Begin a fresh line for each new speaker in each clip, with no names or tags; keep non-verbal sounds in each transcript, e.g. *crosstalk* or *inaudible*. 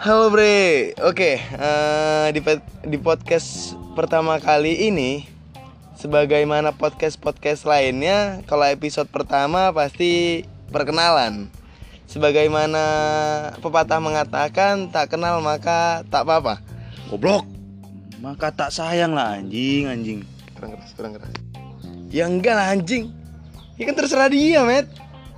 Halo Bre, oke eh, di, pod- di podcast pertama kali ini Sebagaimana podcast-podcast lainnya Kalau episode pertama pasti perkenalan Sebagaimana pepatah mengatakan tak kenal maka tak apa-apa
Goblok. Maka tak sayang lah anjing anjing.
Kurang keras, kurang keras Ya enggak lah anjing Ya kan terserah dia met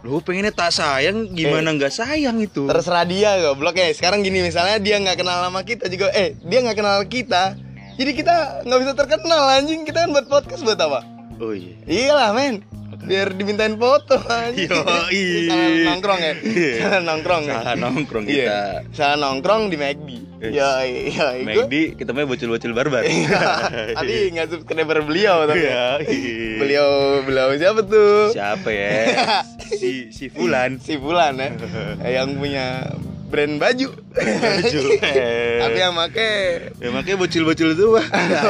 Lu pengennya tak sayang
Eh.
gimana nggak sayang itu?
Terserah dia goblok ya Sekarang gini misalnya dia nggak kenal sama kita juga Eh dia nggak kenal kita Jadi kita nggak bisa terkenal anjing Kita kan buat podcast buat apa?
Oh iya.
Iyalah men Biar dimintain foto anjing
Yoi. Iya.
Ini Salah nongkrong ya Salah nongkrong ya
Salah nongkrong
Iya.
kita.
Salah nongkrong di McD
Yes.
Yoi yoi Gua-
Megdi kita mah bocil-bocil barbar.
*laughs* Tapi nggak subscriber beliau tapi
Iya. iya.
Iya. Beliau beliau siapa tuh?
siapa ya?
*laughs*
si si Fulan.
Si Bulan
*laughs*
ya Yang punya brand baju
Baju.
*laughs* Tapi yang make
Ya makanya bocil-bocil itu wah.
*laughs*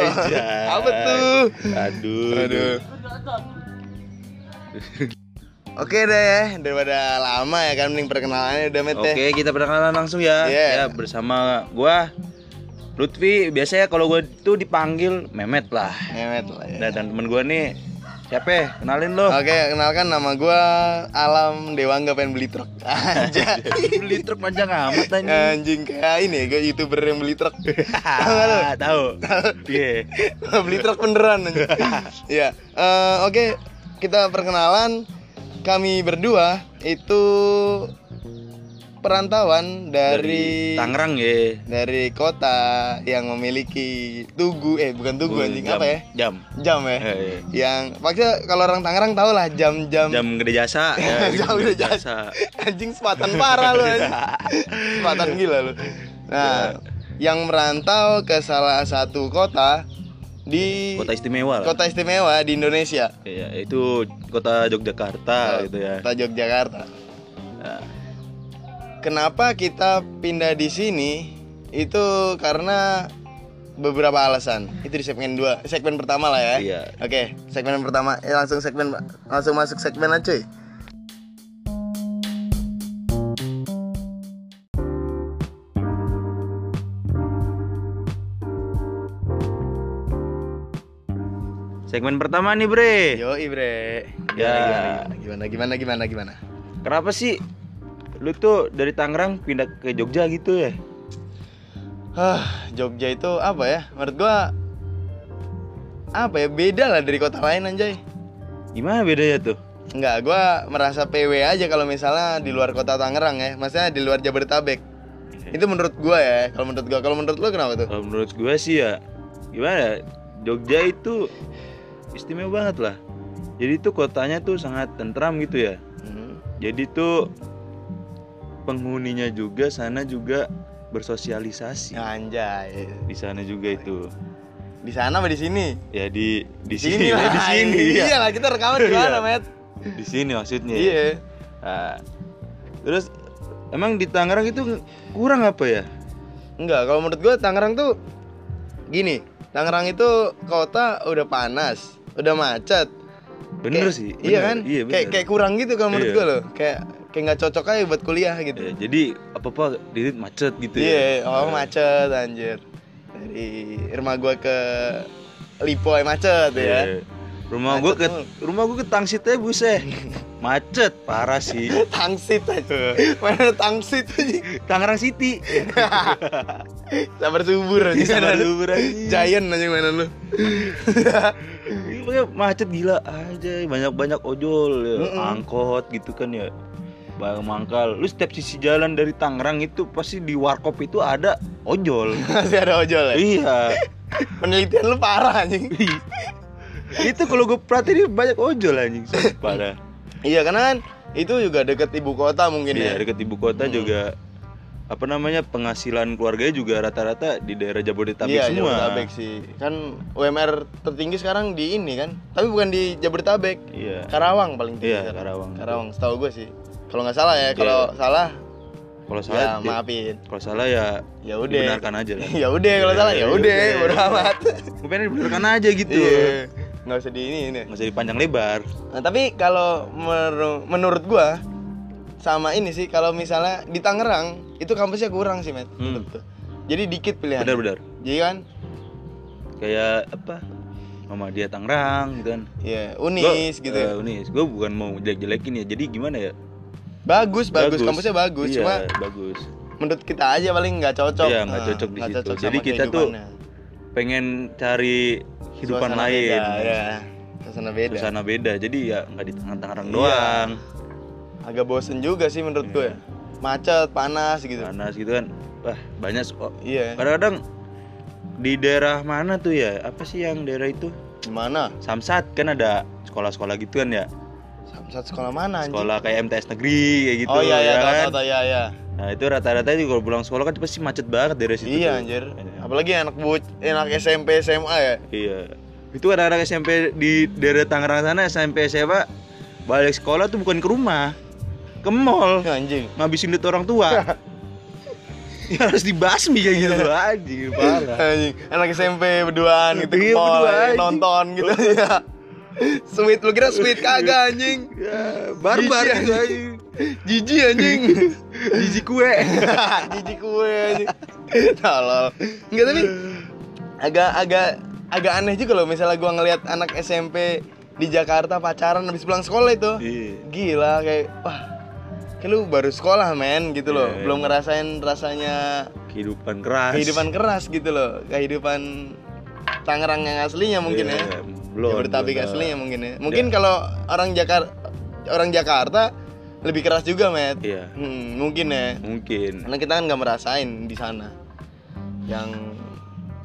Apa tuh?
Aduh.
Aduh. Oke deh ya, daripada lama ya kan mending perkenalannya udah met deh.
Oke, kita perkenalan langsung ya.
Iya.
Ya bersama gua Lutfi biasanya kalau gua tuh dipanggil Memet lah.
Memet lah ya.
Nah, dan temen gua nih siapa? ya? Kenalin lo.
Oke, kenalkan nama gua Alam Dewangga pengen beli *laughs* truk. Aja.
Beli truk panjang amat anjing.
Anjing kayak ini gue YouTuber yang beli *laughs* truk.
Ah, Eh, Tahu. Iya.
beli truk beneran
*laughs*
anjing. ya. eh, oke, kita perkenalan kami berdua itu perantauan dari,
Tangerang ya.
dari kota yang memiliki tugu eh bukan tugu anjing
Jam-
apa ya
Jam.
jam ya
Eh, iya.
yang pasti kalau orang Tangerang tau lah jam-jam
Jam gede jasa. ya,
Jam gede jasa. *laughs* anjing sepatan parah lu
*laughs*
anjing. sepatan gila lu
Iya.
nah yang merantau ke salah satu kota di
Kota istimewa lah.
kota istimewa di Indonesia
Iya, itu
Ah.
kota Yogyakarta gitu ya.
kota Yogyakarta
Nah,
kenapa kita pindah di sini itu karena beberapa alasan itu di segmen dua segmen pertama lah ya
Iya.
oke segmen pertama eh, langsung segmen langsung masuk segmen lah cuy
Segmen pertama nih, Bre.
yo ibre
Ya.
gimana gimana gimana gimana
Kenapa sih lu tuh dari Tangerang pindah ke Jogja gitu ya?
Hah, Jogja itu apa ya menurut gua apa ya beda lah dari kota lain anjay
Gimana bedanya tuh?
Enggak, gua merasa PW aja kalau misalnya di luar kota Tangerang ya, maksudnya di luar Jabodetabek. Itu menurut gua ya, kalau menurut gua. Kalau menurut lu kenapa tuh?
Kalau menurut gue sih ya gimana? ya, Jogja itu istimewa banget lah. Jadi tuh kotanya tuh sangat tentram gitu ya. Jadi tuh penghuninya juga sana juga bersosialisasi.
Anjay.
Di sana juga itu.
Di sana apa di sini?
Ya di di
Di
sini,
lah.
di sini.
*laughs* Iya
ya.
lah, kita rekaman di mana,
Iya.
Met?
Di sini maksudnya. ya.
Iya.
Nah, terus emang di Tangerang itu kurang apa ya?
Enggak, kalau menurut gua Tangerang tuh gini, Tangerang itu kota udah panas, udah macet.
Bener
Kayak-
sih.
Iya
bener.
kan?
Iya bener.
kayak kayak kurang gitu kalau menurut
Iya.
gua loh. Kayak kayak nggak cocok aja buat kuliah gitu.
Ya, jadi apa apa diri macet gitu
Iya,
ya.
oh macet anjir. Dari rumah gua ke Lipo ya macet
Iya.
ya.
Rumah gua
Macet
ke
mulu.
rumah gua ke Tangsitnya
*laughs*
buset. macet parah sih.
Tangsit aja. Mana tangsit aja.
Tangerang
*laughs*
City.
Sabar subur aja.
Iya, Sabar
Mana lu?
subur aja.
Giant aja mana lu.
Iya, pokoknya macet gila aja, banyak-banyak ojol, ya. angkot gitu kan ya. Bang mangkal, lu setiap sisi jalan dari Tangerang itu pasti di warkop itu ada
*laughs*
ojol.
Masih ada ojol ya.
iya.
Penelitian lu parah anjing.
itu kalau gue perhatiin banyak ojol anjing
*laughs*
parah
Iya karena kan itu juga deket ibu kota mungkin
iya
ya.
deket ibu kota juga apa namanya penghasilan keluarganya juga rata-rata di daerah Jabodetabek
Iya,
semua
Jabodetabek sih. Kan UMR tertinggi sekarang di ini kan. Tapi bukan di Jabodetabek.
iya
Karawang paling tinggi.
Iya,
sekarang.
Karawang.
Karawang, setahu gue sih. Kalau nggak salah ya, kalau salah
kalau
ya
salah di-
maafin.
kalau salah ya
ya udah *laughs*
dibenarkan aja lah Iya, *laughs*
ya udah kalau salah ya udah bodo amat
gue pengen dibenarkan aja gitu
Iya. nggak usah di ini ini.
nggak usah dipanjang lebar
Nah, tapi kalau meru- menurut gua sama ini sih kalau misalnya di Tangerang itu kampusnya kurang sih, Met.
Hmm.
menurut gua. Jadi dikit pilihan.
benar-benar
Jadi kan
kayak apa Mama dia Tangerang gitu kan
ya
Gua-
Unis gitu.
eh,
ya.
unis gue bukan mau jelek-jelekin ya jadi gimana ya
Bagus, bagus, kampusnya bagus,
Iya,
cuma
bagus
menurut kita aja paling nggak cocok.
Iya, nggak
Nah,
cocok di
nggak
situ.
cocok sama
Jadi kita tuh
kehidupannya.
pengen cari kehidupan
Suasana
lain
Beda, ya. Suasana beda.
suasana beda jadi ya nggak di tangan Tangerang
Iya.
doang
Agak bosen juga sih menurut
Iya.
gue. Macet, panas gitu.
panas gitu kan wah banyak kok
Iya.
kadang-kadang di daerah mana tuh ya apa sih yang daerah itu
Gimana?
Samsat kan ada sekolah-sekolah gitu kan ya
Samsat sekolah mana anjing?
sekolah kayak MTS negeri kayak gitu
oh iya iya,
ya
tahu,
kan?
tahu, tahu, iya iya.
nah itu rata-rata juga kalau pulang sekolah kan pasti macet banget daerah situ
Iya
tuh.
anjir.
Iya.
Apalagi anak buc anak SMP SMA ya.
iya itu anak-anak SMP di daerah Tangerang sana SMP SMA balik sekolah tuh bukan ke rumah ke mall
Iya, Anjing.
ngabisin duit orang tua *laughs* ya harus dibasmi kayak gitu
Ya.
anjing parah
Anjing. Anak SMP berduaan gitu ke
Iya,
mall,
berdua, anjing.
nonton *laughs* gitu. Iya. sweet lu kira sweet kagak anjing.
ya, barbar
Jijik,
gitu
anjing. Jijik anjing.
jijik kue
*laughs* Jijik kue anjing. Tolol. Enggak tapi agak agak agak aneh juga loh misalnya gua ngelihat anak SMP di Jakarta pacaran habis pulang sekolah itu.
Iya,
gila kayak wah kayak lu baru sekolah men gitu loh
Iya, iya.
belum ngerasain rasanya
kehidupan keras
kehidupan keras gitu loh kehidupan Tangerang yang aslinya mungkin
Iya,
ya
belum
Yang bertabik
belum. Iya.
aslinya mungkin ya mungkin kalau orang Jakarta orang Jakarta lebih keras juga met
iya
Hmm, mungkin ya
mungkin
karena kita kan nggak merasain di sana yang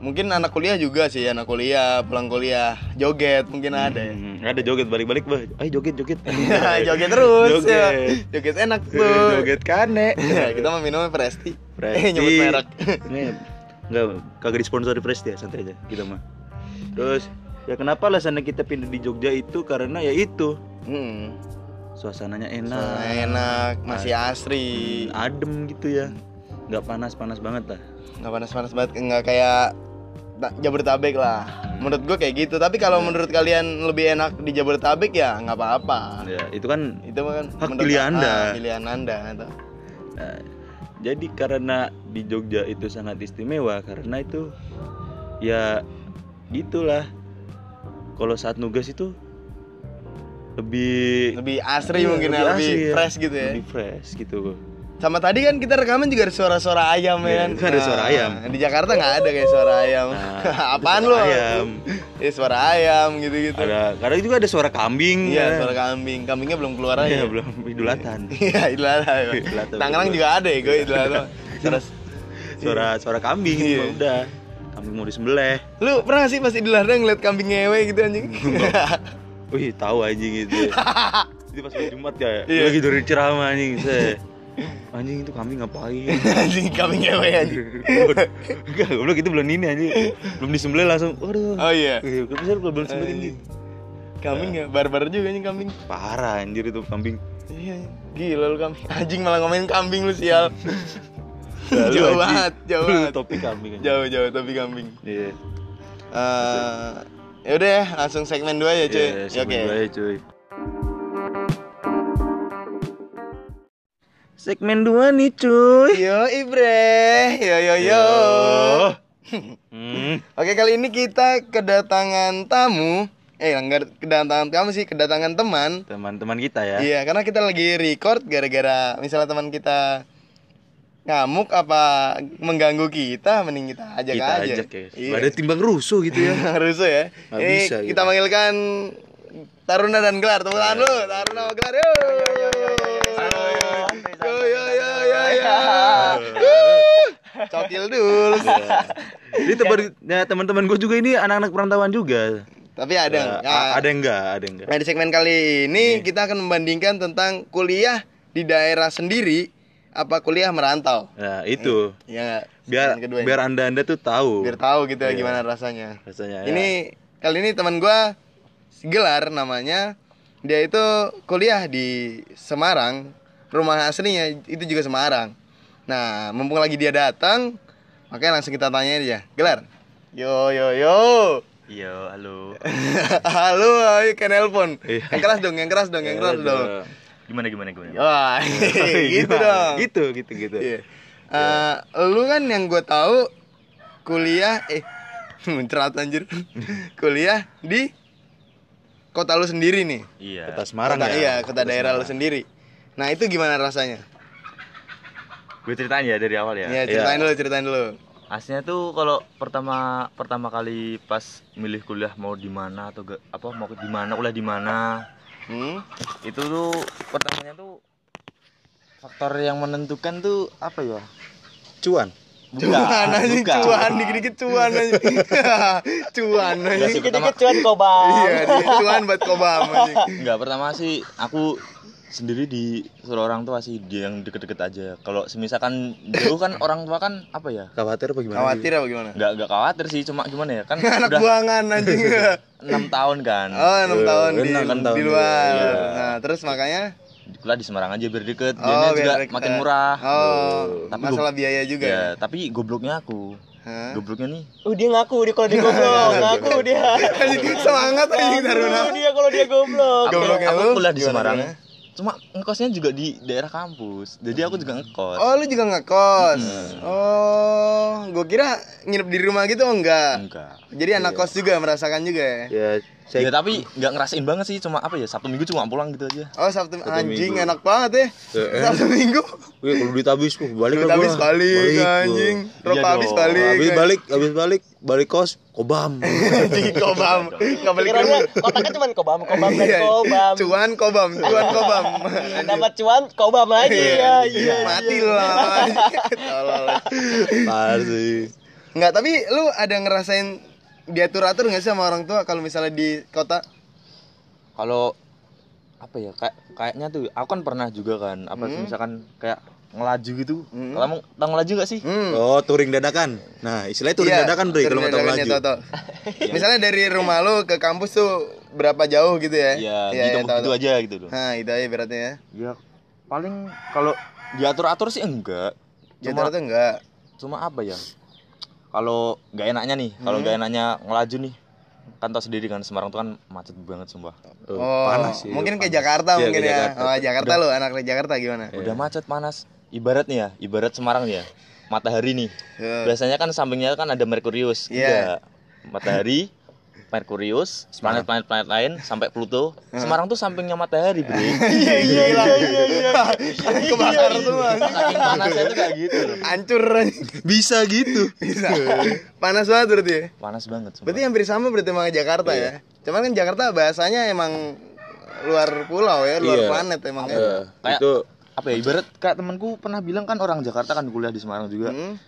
mungkin anak kuliah juga sih anak kuliah pulang kuliah joget mungkin ada ya
Hmm, ada joget balik-balik bah ayo joget *laughs* joget
*laughs* joget terus ya.
Joget.
joget enak tuh
Eh, *laughs* joget kane
Ya, *laughs* kita mau minumnya Presti.
Presti.
Eh, *laughs* nyebut merek.
Ini enggak kagak disponsori Presti ya, santai aja kita mah. Terus ya kenapa alasannya kita pindah di Jogja itu karena ya itu
Hmm.
suasananya
Nah,
enak,
enak, masih
nah.
asri.
adem gitu ya. Nggak panas-panas banget lah.
Nggak panas-panas banget, nggak kayak Ta- Jabodetabek lah. Menurut gue kayak gitu. Tapi kalau menurut kalian lebih enak di Jabodetabek ya nggak apa-apa.
Ya, itu kan
Itu mah kan
Hak
menurut-
pilihan
ah,
Anda.
pilihan Anda. gitu. tuh.
nah, jadi karena di Jogja itu sangat istimewa karena itu ya gitulah. Kalau saat nugas itu lebih
Lebih asri
Iya,
mungkin ya, lebih
asri ya.
fresh gitu ya.
Lebih fresh gitu.
Sama tadi kan kita rekaman juga ada suara-suara ayam ya.
Iya, itu ada suara ayam.
Di Jakarta nggak ada kayak suara ayam. *laughs*
Nah,
Apaan
itu
lu?
suara ayam.
Ya, suara ayam gitu-gitu.
ada kadang juga ada suara kambing
Iya,
ya.
suara kambing. Kambingnya belum keluar
Iya,
aja.
belum idulatan
Iya, Idul Adha.
Idul Adha,
Tangerang
betul.
juga ada ya, gue Idul Adha. Terus
suara suara kambing
Iya.
cuma udah kambing mau disembelih
lu pernah gak sih pas Idul Adha ngeliat kambing ngewe gitu anjing?
wih tahu anjing
*laughs*
itu itu pas hari Jumat ya
Iya.
lagi dari ceramah anjing se anjing itu kambing ngapain
anjing kambing ngewe anjing.
enggak goblok itu belum ini anjing belum disembelih langsung waduh
Oh iya.
Iya, kenapa sih lu belum sembelih
Anjing.
anjing?
Kambing ya barbar juga anjing kambing.
parah anjir itu kambing
Iya. Gila lu kambing. Anjing malah ngomongin kambing lu sial.
Nah, lu,
jauh
anjing.
banget, jauh
Lu
banget.
topik kambing anjing.
Jauh jauh tapi kambing.
iya
Eh ya udah ya, langsung segmen 2 ya, cuy.
Iya,
Ya, Oke.
segmen dua ya, cuy. Segmen 2 nih cuy.
Yo Ibre, yo yo yo.
Hmm.
Oke kali ini kita kedatangan tamu, eh nggak kedatangan tamu sih kedatangan teman.
Teman-teman kita ya.
Iya karena kita lagi record gara-gara misalnya teman kita ngamuk apa mengganggu kita, mending kita ajak
kita
aja.
ajak ya.
Iya.
Ada timbang rusuh gitu ya.
*laughs* Harus ya.
Nggak
Ini
bisa
kita
gitu.
manggilkan Taruna dan Gelar. Tepuk tangan dulu, Taruna sama Gelar. Yo. Yo yo yo yo yo. Wuh. Cokil dulu.
Iya. Ini teman ya, teman-teman gue juga ini anak-anak perantauan juga.
Tapi ada
Ya,
ah,
a- ada Iya. yang enggak, ada yang enggak.
Nah di segmen kali ini kita akan membandingkan tentang kuliah di daerah sendiri apa kuliah merantau.
Nah, itu.
Ya
Biar
segmen kedua ini.
biar Anda-anda tuh tahu
biar tahu gitu ya gimana rasanya.
rasanya. ya.
Ini kali ini teman gua gelar namanya dia itu kuliah di Semarang rumah aslinya itu juga Semarang. Nah mumpung lagi dia datang makanya langsung kita tanya dia gelar. Yo yo yo.
ya. Iya, halo.
*laughs* Halo, ayo ke nelpon.
Iya.
Yang keras dong, yang keras dong, yang keras dong. *laughs*
Gimana gimana gimana?
Wah, gitu
Gimana?
dong.
Iya, Gitu gitu gitu.
Iya. Eh, lu kan yang gue tahu kuliah eh *laughs* mencerat anjir. kuliah di kota lu sendiri nih.
Iya.
Kota Semarang
kota,
ya.
Iya, kota, daerah lu sendiri. Nah, itu gimana rasanya?
Gue ceritain ya dari awal ya.
Ya, ceritain dulu, ceritain dulu.
Aslinya tuh kalau pertama pertama kali pas milih kuliah mau di mana atau ge- apa mau di mana kuliah di mana
Hmm?
itu tuh pertamanya tuh faktor yang menentukan tuh apa ya?
Cuan.
Cuan aja,
bukan.
cuan dikit-dikit cuan aja. *laughs* cuan aja.
Enggak sih pertama
cuan kok bang
Iya, dikit cuan buat kobam anjing.
enggak pertama sih aku sendiri di seluruh orang tua sih dia yang deket-deket aja. Kalau semisalkan jauh kan orang tua kan apa ya?
Khawatir apa gimana?
Khawatir apa gimana?
Enggak enggak khawatir sih cuma gimana ya? Kan
*laughs* Anak
udah
buangan anjing.
enam tahun kan.
Oh, 6
Iya,
tahun di,
bener, enam tahun
di
di
luar.
luar.
Nah, terus makanya
Kuliah di Semarang aja biar deket.
Oh,
biarnya
biar
juga
deket.
makin murah.
Oh,
Tapi
masalah biaya juga.
Ya, tapi gobloknya aku.
Hah? *laughs*
Gobloknya nih.
uh dia ngaku dia kalau dia
Iya,
goblok ngaku dia
Anjing, semangat anjing Taruna.
ngaku dia kalau dia goblok
Aku,
Gobloknya
aku
lu
kuliah di
gimana,
Semarang.
gimana?
Cuma ngekosnya juga di daerah kampus. Jadi aku juga ngekos.
Oh, lu juga ngekos. Oh, gua kira nginep di rumah gitu oh enggak. Iya.
Enggak.
Jadi anak kos juga merasakan juga ya.
Ya,
Ya
saya
tapi nggak ngerasain banget sih cuma apa ya Sabtu Minggu cuma pulang gitu aja.
Oh, Sabtu, anjing
minggu.
enak banget ya.
Heeh.
Sabtu Minggu.
Wih, kalau duit habis, uh, balik
Duit
lah
habis
gua.
balik,
gua.
anjing. Rokok
Iya
habis
dong,
balik.
Habis balik, habis balik, balik kos,
*laughs*
kobam.
*laughs* Anjing kobam. Enggak balik
pikirannya
dulu.
otaknya cuma kobam kobam dan
Iya.
kobam Iya,
Cuan kobam, cuan *laughs* kobam.
dapat cuan kobam lagi ya iya
Mati lu *laughs* lama-lama. Tolol.
Parsi.
Enggak, tapi lu ada ngerasain diatur-atur nggak sih sama orang tua kalau misalnya di kota?
Kalau apa ya kayak kayaknya tuh aku kan pernah juga kan apa sih misalkan kayak ngelaju gitu.
Hmm.
Kamu tahu ngelaju gak sih?
Hmm.
Oh, touring dadakan. Nah, istilahnya touring
Iya,
dadakan, Bre,
touring
kalau nggak tahu
dadakan ya,
laju. *laughs* Iya.
Toto. Misalnya dari rumah lu ke kampus tuh berapa jauh gitu ya?
Iya,
Iya,
gitu
iya, tahu,
gitu
tahu.
aja gitu loh.
Nah, itu aja beratnya ya.
Ya paling kalau diatur-atur sih enggak.
Jatuh
Cuma
tuh enggak.
cuma apa ya? Kalau nggak enaknya nih, kalau nggak
Hmm.
enaknya ngelaju nih. Kan tau sendiri kan Semarang tuh kan macet banget sumpah.
Oh,
Oh,
panas sih.
mungkin
panas.
ke Jakarta
Iya, ke
mungkin ya.
Jakarta. Iya.
Oh, Jakarta lu anak dari Jakarta gimana?
Iya.
Udah macet panas. Ibarat nih ya, ibarat Semarang nih ya. Matahari nih.
Eh.
Tuh.
Biasanya kan sampingnya kan ada Merkurius.
Iya.
Iya. Matahari, Merkurius, planet-planet lain sampai Pluto. Semarang tuh sampingnya matahari, Bro.
Eh. *laughs* iya iya iya iya
*laughs*
iya
Kebakar semua.
Saking panasnya tuh kayak gitu loh.
Hancur *laughs* anjing.
Bisa
*laughs*
gitu.
bisa. Panas banget berarti ya.
Panas banget sumpah.
Berarti hampir sama berarti sama kayak Jakarta
Iya.
ya. Cuman kan Jakarta bahasanya emang luar pulau ya, luar
Iya.
planet emang ya.
Eh,
Kayak-
itu
apa ya ibarat kayak temanku pernah bilang kan orang Jakarta kan kuliah di Semarang juga.
Hmm,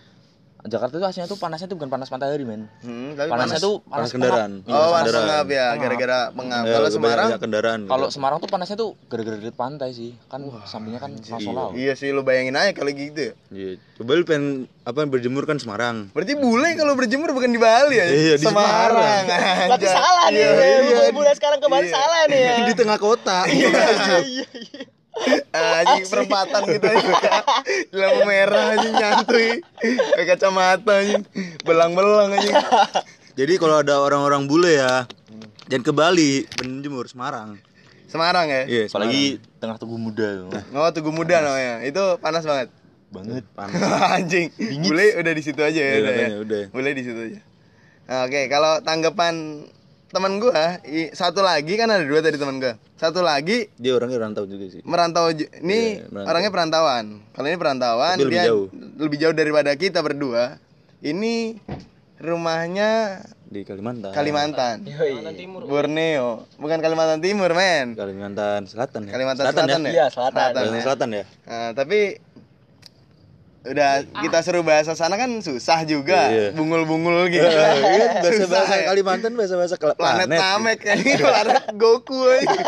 Jakarta tuh aslinya tuh panasnya tuh bukan panas matahari, men.
hmm, tapi
Panasnya tuh
panas
panas
kendaraan.
pengap. Iya,
Oh, panas
kendaraan.
pengap ya,
Pengap.
gara-gara pengap.
eh,
Kalau
kebanyakan
Semarang,
kendaraan.
Kalau Semarang tuh panasnya tuh gara-gara deket pantai sih. Kan sampingnya kan langsung laut.
iya sih lu bayangin aja kalau gitu. ya.
Iya. coba lu pengen apa berjemur kan Semarang.
Berarti bule kalau berjemur bukan di Bali ya?
Iya, di Semarang.
berarti
anjay.
salah nih ya,
Iya, iya.
bulan sekarang kemarin salah nih ya
Di tengah
*laughs*
kota.
Iya,
Ah, Anjing perempatan gitu aja. Lampu merah anjing nyantui. Pakai kacamata anjing. Belang-belang
*laughs*
anjing.
Jadi kalau ada orang-orang bule ya, jangan ke Bali, berjemur Semarang.
Semarang ya?
Iya,
Apalagi tengah tugu muda tuh.
Nah.
Oh, Tugu Muda namanya. Itu panas banget.
banget.
*laughs* anjing. Bule udah di situ aja ya,
Iya,
udah ya.
makanya udah.
Bule di situ aja. Nah, Oke, kalau tanggapan teman gua, i- satu lagi kan ada dua tadi teman gua. Satu lagi
Semarang. dia orangnya rantau juga sih.
merantau ju- ini
Iya, merantau.
orangnya perantauan kalau ini perantauan
Tapi lebih
dia
jauh.
lebih jauh daripada kita berdua ini rumahnya
Di Kalimantan.
Kalimantan
Yoi.
Borneo bukan Kalimantan Timur men
Kalimantan Selatan ya.
Kalimantan Selatan, ya,
Iya, selatan.
Kalimantan
ya.
Selatan
*laughs*
ya.
Nah, tapi
Ah.
udah kita suruh bahasa sana kan susah juga
Iya.
*laughs* bungul-bungul gitu
Iya, bahasa-bahasa
Susah ya.
Kalimantan bahasa-bahasa kela-
planet Namek anjing, planet Goku anjing.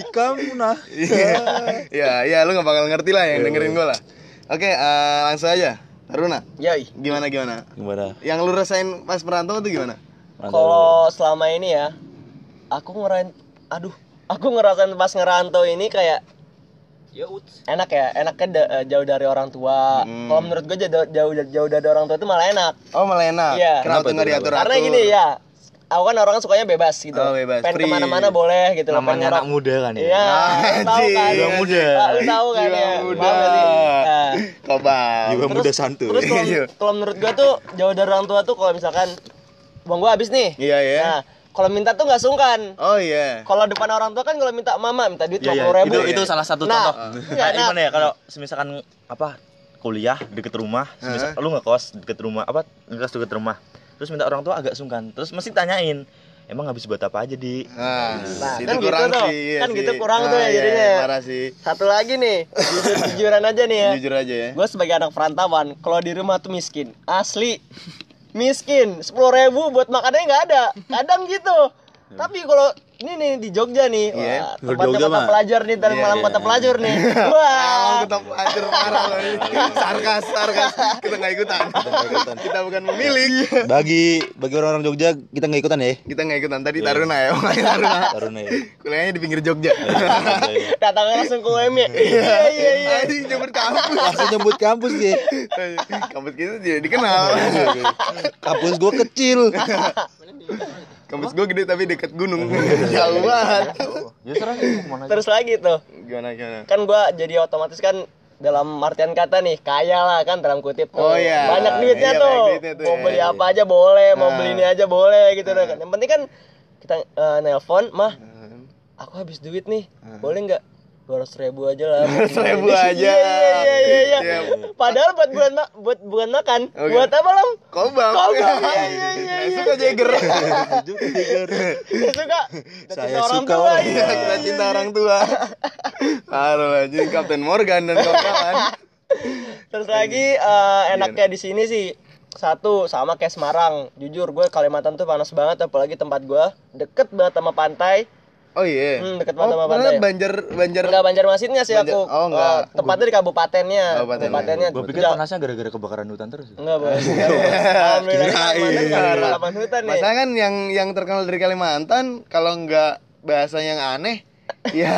Ikam nah.
ya ya lu gak bakal ngerti lah yang dengerin gue lah oke eh, langsung aja Taruna
Yoi.
gimana gimana
Gimana?
yang lu rasain pas merantau tuh gimana
Kalau selama ini ya, aku ngerasain, aduh, aku ngerasain pas ngerantau ini kayak enak ya, enaknya da- eh, jauh dari orang tua.
Hmm.
Kalau menurut gue jauh, jauh jauh dari orang tua itu malah enak.
oh malah enak
Iya.
kenapa,
Kenapa
tuh nggak
tuh,
diatur
Karena gini ya, aku kan orangnya sukanya bebas gitu.
Oh, bebas,
Pengen
free. Ah,
kemana-mana boleh gitu loh.
namanya
pengen
anak
ngerok-
muda kan ya
Iya, lu tahu kan.
Anjing.
Jiwa muda.
Pak, lu tahu kan
Jiwa
ya.
muda.
Paham gak sih? Nah,
Kobam.
jiwa
Terus-
muda santuy
Terus kalau-
Iya.
kalau menurut gua tuh jauh dari orang tua tuh kalau misalkan uang gua habis nih.
Iya, iya.
Nah, kalau minta tuh nggak sungkan.
Oh iya.
Kalau depan orang tua kan kalau minta mama minta duit
Iya, iya.
dua ribu.
itu itu salah satu
Nah,
contoh nah,
iya, nah.
gimana ya kalau semisalkan apa kuliah deket rumah semisal lu ngekos deket rumah apa ngekos deket rumah terus minta orang tua agak sungkan terus mesti tanyain emang habis buat apa aja di
Nah,
Nah,
itu
kan gitu
kurang
tuh.
sih, iya
Kan
sih.
gitu kurang tuh ya
iya,
jadinya.
Parah sih.
Satu lagi nih, jujur
*laughs*
jujuran aja nih ya.
Jujur aja ya.
Gue sebagai anak perantauan, kalau di rumah tuh miskin, asli miskin. Sepuluh ribu buat makannya nggak ada, kadang gitu. Tapi kalau ini nih di Jogja nih,
Iya.
wah, tempatnya
Jogja
kota
mah.
pelajar nih, dan
Iya,
malam
iya.
kota pelajar
*laughs*
nih.
Kalau
Wah,
kita pelajar parah loh ini. *laughs* Sarkas, sarkas. Kita nggak ikutan. Kita bukan memilih.
Iya.
Bagi bagi orang-orang Jogja kita nggak ikutan
*laughs*
ya.
Kita nggak ikutan.
Iya.
Tadi Taruna ya. makanya Taruna.
Taruna ya.
Kuliahnya di pinggir Jogja.
datangnya langsung ke
*laughs*
UM ya. Iya iya iya.
Anjing jemput kampus.
Langsung nyebut kampus ya.
Kampus kita jadi dikenal.
Iya,
Kampus gue kecil.
Kampus gue gede tapi dekat gunung.
Iya,
Jauh banget.
ya serah sih, mau kemana aja.
Terus lagi tuh,
Gimana gimana?
kan gue jadi otomatis kan dalam artian kata nih kaya lah kan dalam kutip
Oh,
tuh.
iya.
banyak duitnya
Iya,
tuh.
banyak duitnya tuh,
mau
iya,
beli
iya.
apa aja boleh mau
Nah.
beli ini aja boleh gitu kan yang penting kan kita eh, nelpon mah
Nah.
aku habis duit nih boleh nggak dua ribu aja
*laughs*
lah buat beli
ribu
ini."
Nah. aja.
iya iya iya, iya.
Iya.
padahal buat bulan ma- buat bulan makan
Oke.
buat apa lom
Kobam.
Kobam,
*laughs*
iya, iya, iya, iya.
Suka Jagger.
*laughs* Saya
*laughs*
suka
Saya
orang
suka
tua,
orang
iya.
Kita cinta orang tua. Harus aja Kapten Morgan dan kawan-kawan.
Terus lagi eh, enaknya di sini sih satu sama kayak Semarang. Jujur gue Kalimantan tuh panas banget apalagi tempat gue deket banget sama pantai.
Oh iya.
Hmm, deket
Oh,
banget sama
mana
pantai.
Banjar Banjar.
Enggak Banjarmasinnya sih
Banjar-
aku.
oh, enggak.
Eh, tempatnya di kabupatennya.
Kabupatennya.
Kabupatennya.
gua pikir
Ja-
kan panasnya gara-gara kebakaran hutan terus ya.
Enggak,
*laughs*
Bos. Alhamdulillah. Kalimantan kan pengalaman hutan nih.
Masalah kan yang yang terkenal dari Kalimantan kalau nggak bahasa yang
*laughs*
aneh ya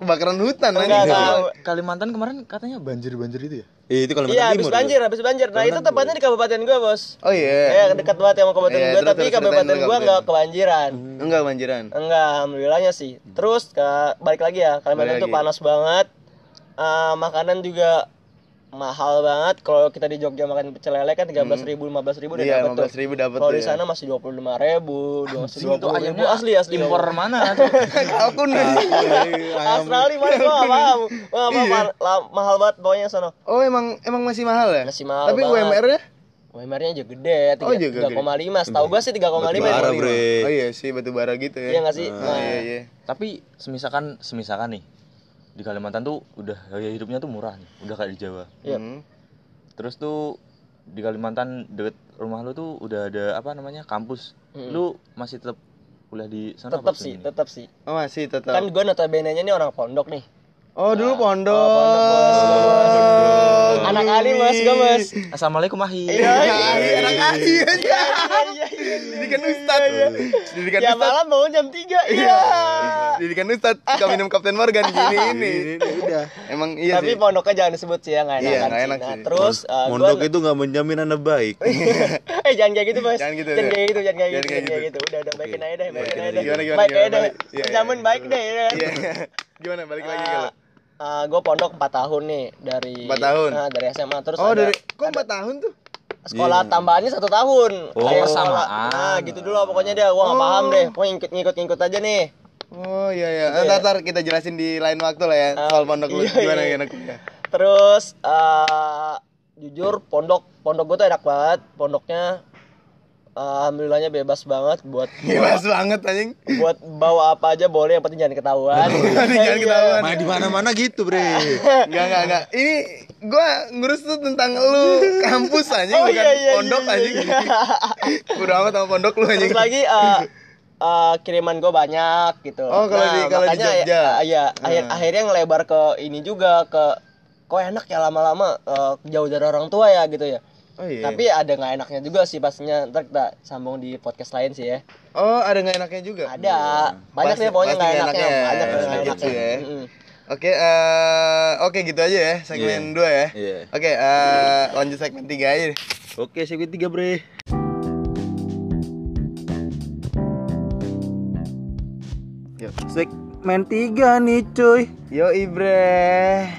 kebakaran hutan
Enggak
nanti.
tahu.
Kalimantan kemarin katanya banjir-banjir itu ya
Eh, itu kalau Timur.
Iya, habis banjir, habis banjir. Nah, itu tempatnya di kabupaten gue, Bos.
Oh iya.
Ya, dekat banget sama kabupaten
Iya,
gue,
terus-
tapi
terus
kabupaten
ceritain
gue
dulu
enggak
kabupaten.
kebanjiran.
Enggak banjiran.
Enggak, alhamdulillahnya sih. Terus ke balik lagi ya,
Hmm. Balik
Kalimantan tuh
lagi.
panas banget. Eh, makanan juga mahal banget. Kalau kita di Jogja makan pecel lele kan 13.000 ribu, 15 ribu udah
Hmm. Iya,
dapet tuh.
15.000 dapet
Kalau
tuh
di
ya.
sana masih 25 ribu, 20
Sing itu
ribu.
ayamnya
Asli asli. *laughs*
impor
ayam.
mana tuh
*laughs* Kalkun.
Ah, iya,
*laughs*
Australia mana gua nggak paham. Wah,
Iya.
mahal, mahal, mahal banget pokoknya sana.
Oh emang emang masih mahal ya?
Masih mahal
Tapi
banget.
UMR-nya?
UMR-nya juga gede,
Oh, juga gede.
3,5. Setahu gua sih 3,5.
Bara,
ya.
bre.
Oh iya sih batu bara gitu ya.
Iya nggak sih?
Ah,
Nah,
iya iya.
tapi semisalkan semisalkan nih di Kalimantan tuh udah gaya hidupnya tuh murah nih udah kayak di Jawa
Iya.
Hmm.
terus tuh di Kalimantan deket rumah lu tuh udah ada apa namanya kampus lu masih tetap kuliah di sana
Tetap sih, tetap sih.
Oh masih tetap.
Kan gua notabene-nya nih orang pondok nih.
oh dulu pondok.
Oh, pondok, Bos. Anak Ali, Mas, gua, Mas.
assalamualaikum ahi
Iya. Ahi, anak ahi aja.
iya iya
Didikan Ustad. Didikan
ya
Ustad.
malam bangun jam 3 iya
Didikan Ustad. Suka minum Kapten Morgan gini ini.
Udah.
Emang iya sih.
tapi pondoknya jangan disebut sih ya nggak enak,
Iya,
kan
nggak
sih.
enak
Nah,
sih.
terus eh, gua-
Mondok itu nggak menjamin anda baik.
eh jangan kayak gitu bos
Jangan gitu,
jangan
ya.
kayak gitu jangan kayak
Jangan kayak
gitu
Iya.
jangan kayak gitu udah udah baikin aja deh baikin aja deh
Gimana, gimana,
baik aja
gimana,
deh
balik. Iya, iya.
jamin baik deh ya.
Iya. *laughs* Gimana balik lagi
Ah,
kalau?
gue pondok 4 tahun nih dari
Empat tahun?
Nah, dari SMA terus
Oh
ada
dari Hmm. kok 4 tahun tuh?
sekolah tambahannya satu tahun
Oh,
Kayak sekolah-
persamaan.
nah gitu dulu lah pokoknya dia gua nggak paham deh pokoknya ngikut ngikut ngikut aja nih
Oh iya iya. Ntar ntar kita jelasin di lain waktu lah ya soal pondok lu
iya,
gimana
iya.
gimana.
Terus eh jujur pondok pondok gue tuh enak banget. Pondoknya eh, alhamdulillahnya bebas banget buat
*laughs* Bebas banget anjing.
buat bawa apa aja boleh yang penting jangan
*laughs*
ketahuan. iya.
Jangan
*laughs*
ketahuan.
Mana di mana-mana gitu bre.
Enggak enggak enggak. Ini gua ngurus tuh tentang lu kampus anjing
Oh,
bukan
iya, iya,
pondok
iya,
*laughs* anjing.
iya.
Udah amat sama pondok lu anjing.
Terus lagi eh eh, kiriman gue banyak gitu.
Oh, kalau di- kalau di
makanya
Jogja. Ah.
ya- ya, akhir akhirnya ngelebar ke ini juga ke kok enak ya lama-lama eh, jauh dari orang tua ya gitu ya.
Oh iya.
Tapi ada nggak enaknya juga sih pastinya ntar kita sambung di podcast lain sih ya.
Oh, ada nggak enaknya juga?
Ada. Banyak
Pasti-
deh pokoknya
pasti
Iya. nggak
nggak
enaknya.
enaknya.
Banyak yang nggak
Gitu
enaknya.
ya.
Mm-mm.
Oke, eh oke gitu aja ya segmen 2 ya.
Iya.
Oke, eh lanjut segmen 3 aja. deh.
Oke, segmen tiga bre.
Spek main tiga nih cuy.
Yo Ibre.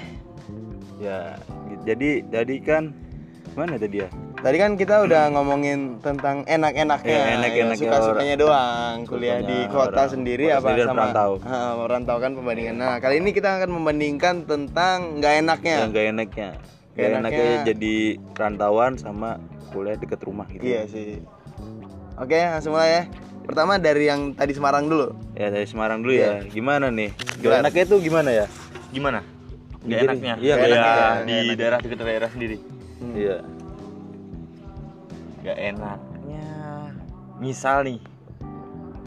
Ya, jadi tadi kan mana tadi ya?
Tadi kan kita udah ngomongin tentang enak-enaknya,
Iya, enak-enaknya
suka sukanya doang, kuliah di
Sukanya
kota
orang-
sendiri
kota
apa
sendiri dan
sama
perantau.
Ha, merantau kan perbandingan. Nah kali ini kita akan membandingkan tentang nggak enaknya.
Yang gak enaknya. Gak
Gak
Iya. enaknya,
enaknya.
jadi rantauan sama kuliah deket rumah gitu.
Iya sih. Oke langsung mulai ya. Pertama dari yang tadi Semarang dulu.
Ya dari Semarang dulu
Iya.
ya. Gimana nih? Gak
Jelas.
enaknya itu gimana ya?
Gimana? Gak
Jadi-
enaknya.
Iya,
Nggak
gak
enaknya.
enak.
Ya,
nggak
di
enak.
daerah dekat daerah sendiri.
Iya.
Gak enaknya. Misal nih.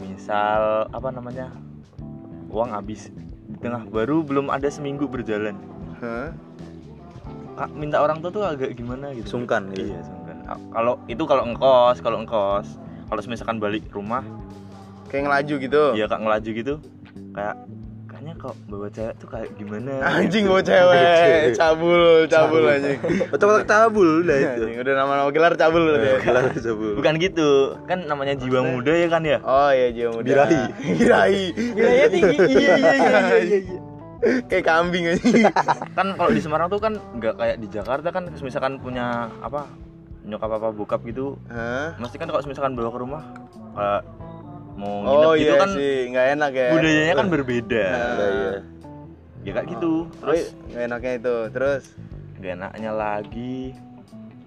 Misal apa namanya? Uang habis di tengah baru belum ada seminggu berjalan.
Hah?
Ah, minta orang tua tuh agak gimana gitu
Sungkan gitu.
iya sungkan Ah, kalau itu kalau ngekos kalau ngekos kalau misalkan balik rumah
Kayak ngelaju gitu.
Iya.
ya kak ngelaju gitu kayak kayaknya kok bawa cewek tuh kayak gimana
Anjing bawa
*laughs*
cewek, cabul, cabul anjing.
Otak-otak tabul udah *laughs* itu.
Anjing, udah nama-nama gelar cabul berarti
*laughs*
ya.
Gelar cabul.
bukan gitu kan namanya jiwa muda ya kan ya
Oh iya jiwa muda.
Birahi.
Birahi.
Wilayahnya
*laughs*
tinggi. Iya iya
Kayak kambing
*laughs*
anjing.
kan kalau di Semarang tuh kan nggak kayak di Jakarta kan misalkan punya apa nyokap apa bokap gitu
Hah?
mesti kan kalau misalkan bawa ke rumah eh, mau nginep
Oh
gitu
iya
kan
sih, nggak enak ya.
budayanya kan berbeda
Nah, iya.
ya kayak gitu terus
Oh, nggak enaknya itu. Terus
gak enaknya lagi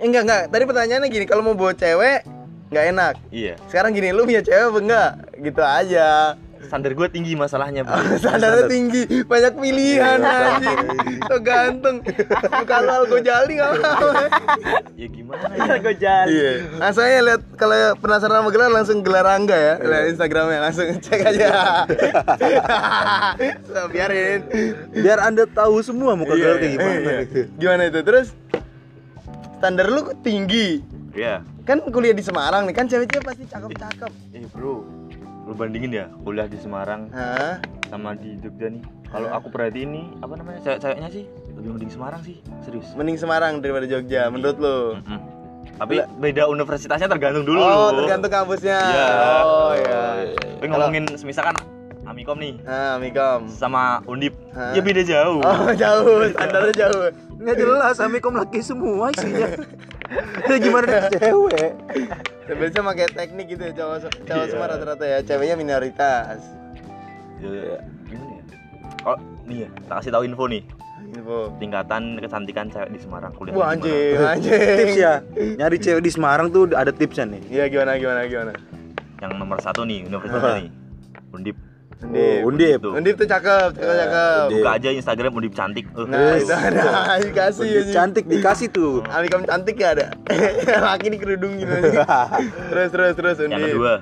eh, enggak enggak, tadi pertanyaannya gini, kalau mau bawa cewek nggak enak.
iya
Sekarang gini, lu punya cewek apa enggak? Gitu
*laughs*
aja.
standar gue tinggi
*laughs*
masalahnya bro.
Standarnya tinggi, banyak pilihan
Iya.
anjing. So ganteng. Kalau algo jali nggak mau.
ya gimana ya
Gue jalan.
Iya. Nah, saya lihat kalau penasaran sama gelar langsung gelar Angga ya. Lihat Instagramnya langsung cek
*laughs*
aja. so, biarin.
Biar Anda tahu semua muka
Iya,
gelar kayak
iya,
gimana.
iya.
gitu?
Gimana itu? Terus standar lu kok tinggi.
Iya.
Kan kuliah di Semarang nih, kan cewek-cewek pasti cakep-cakep.
eh bro lu bandingin ya kuliah di Semarang
Hah?
sama di Jogja nih kalau aku perhatiin nih apa namanya cewek-ceweknya sih lebih mending Semarang sih serius
Mending Semarang daripada Jogja menurut lu.
Mm-mm. tapi beda universitasnya tergantung dulu
Oh, tergantung kampusnya.
Iya.
Oh, iya.
Tapi ngomongin misalkan Amikom nih
Nah, Mikom.
sama Undip
Hah?
ya beda jauh
Oh, jauh, standarnya jauh.
Nggak jelas, amikom laki semua isinya. Ya gimana
*laughs*
dengan cewek? Iya.
Biasanya pakai teknik gitu ya cowok cowok semua rata-rata ya, ceweknya minoritas.
Ya, ya. Gimana ya? Kalau nih ya, tak kasih tahu info nih
Info.
tingkatan kecantikan cewek di Semarang kuliah. di
Gitu. Wah
Semarang.
anjing, anjing.
Tips ya, nyari cewek di Semarang tuh ada tipsnya nih.
Iya gimana gimana gimana.
Yang nomor satu nih universitasnya nih. Undip.
Undip.
Oh, undip. Iya,
Tuh.
gitu. Undip tuh cakep, cakep cakep.
Buka aja Instagram Undip cantik. Eh,
Nah, itu ada dikasih
Undip
anjing.
Cantik dikasih tuh.
Amikam cantik ya ada. *laughs* Laki di kerudung gitu.
*laughs*
anjing. terus terus terus
yang
Undip.
kedua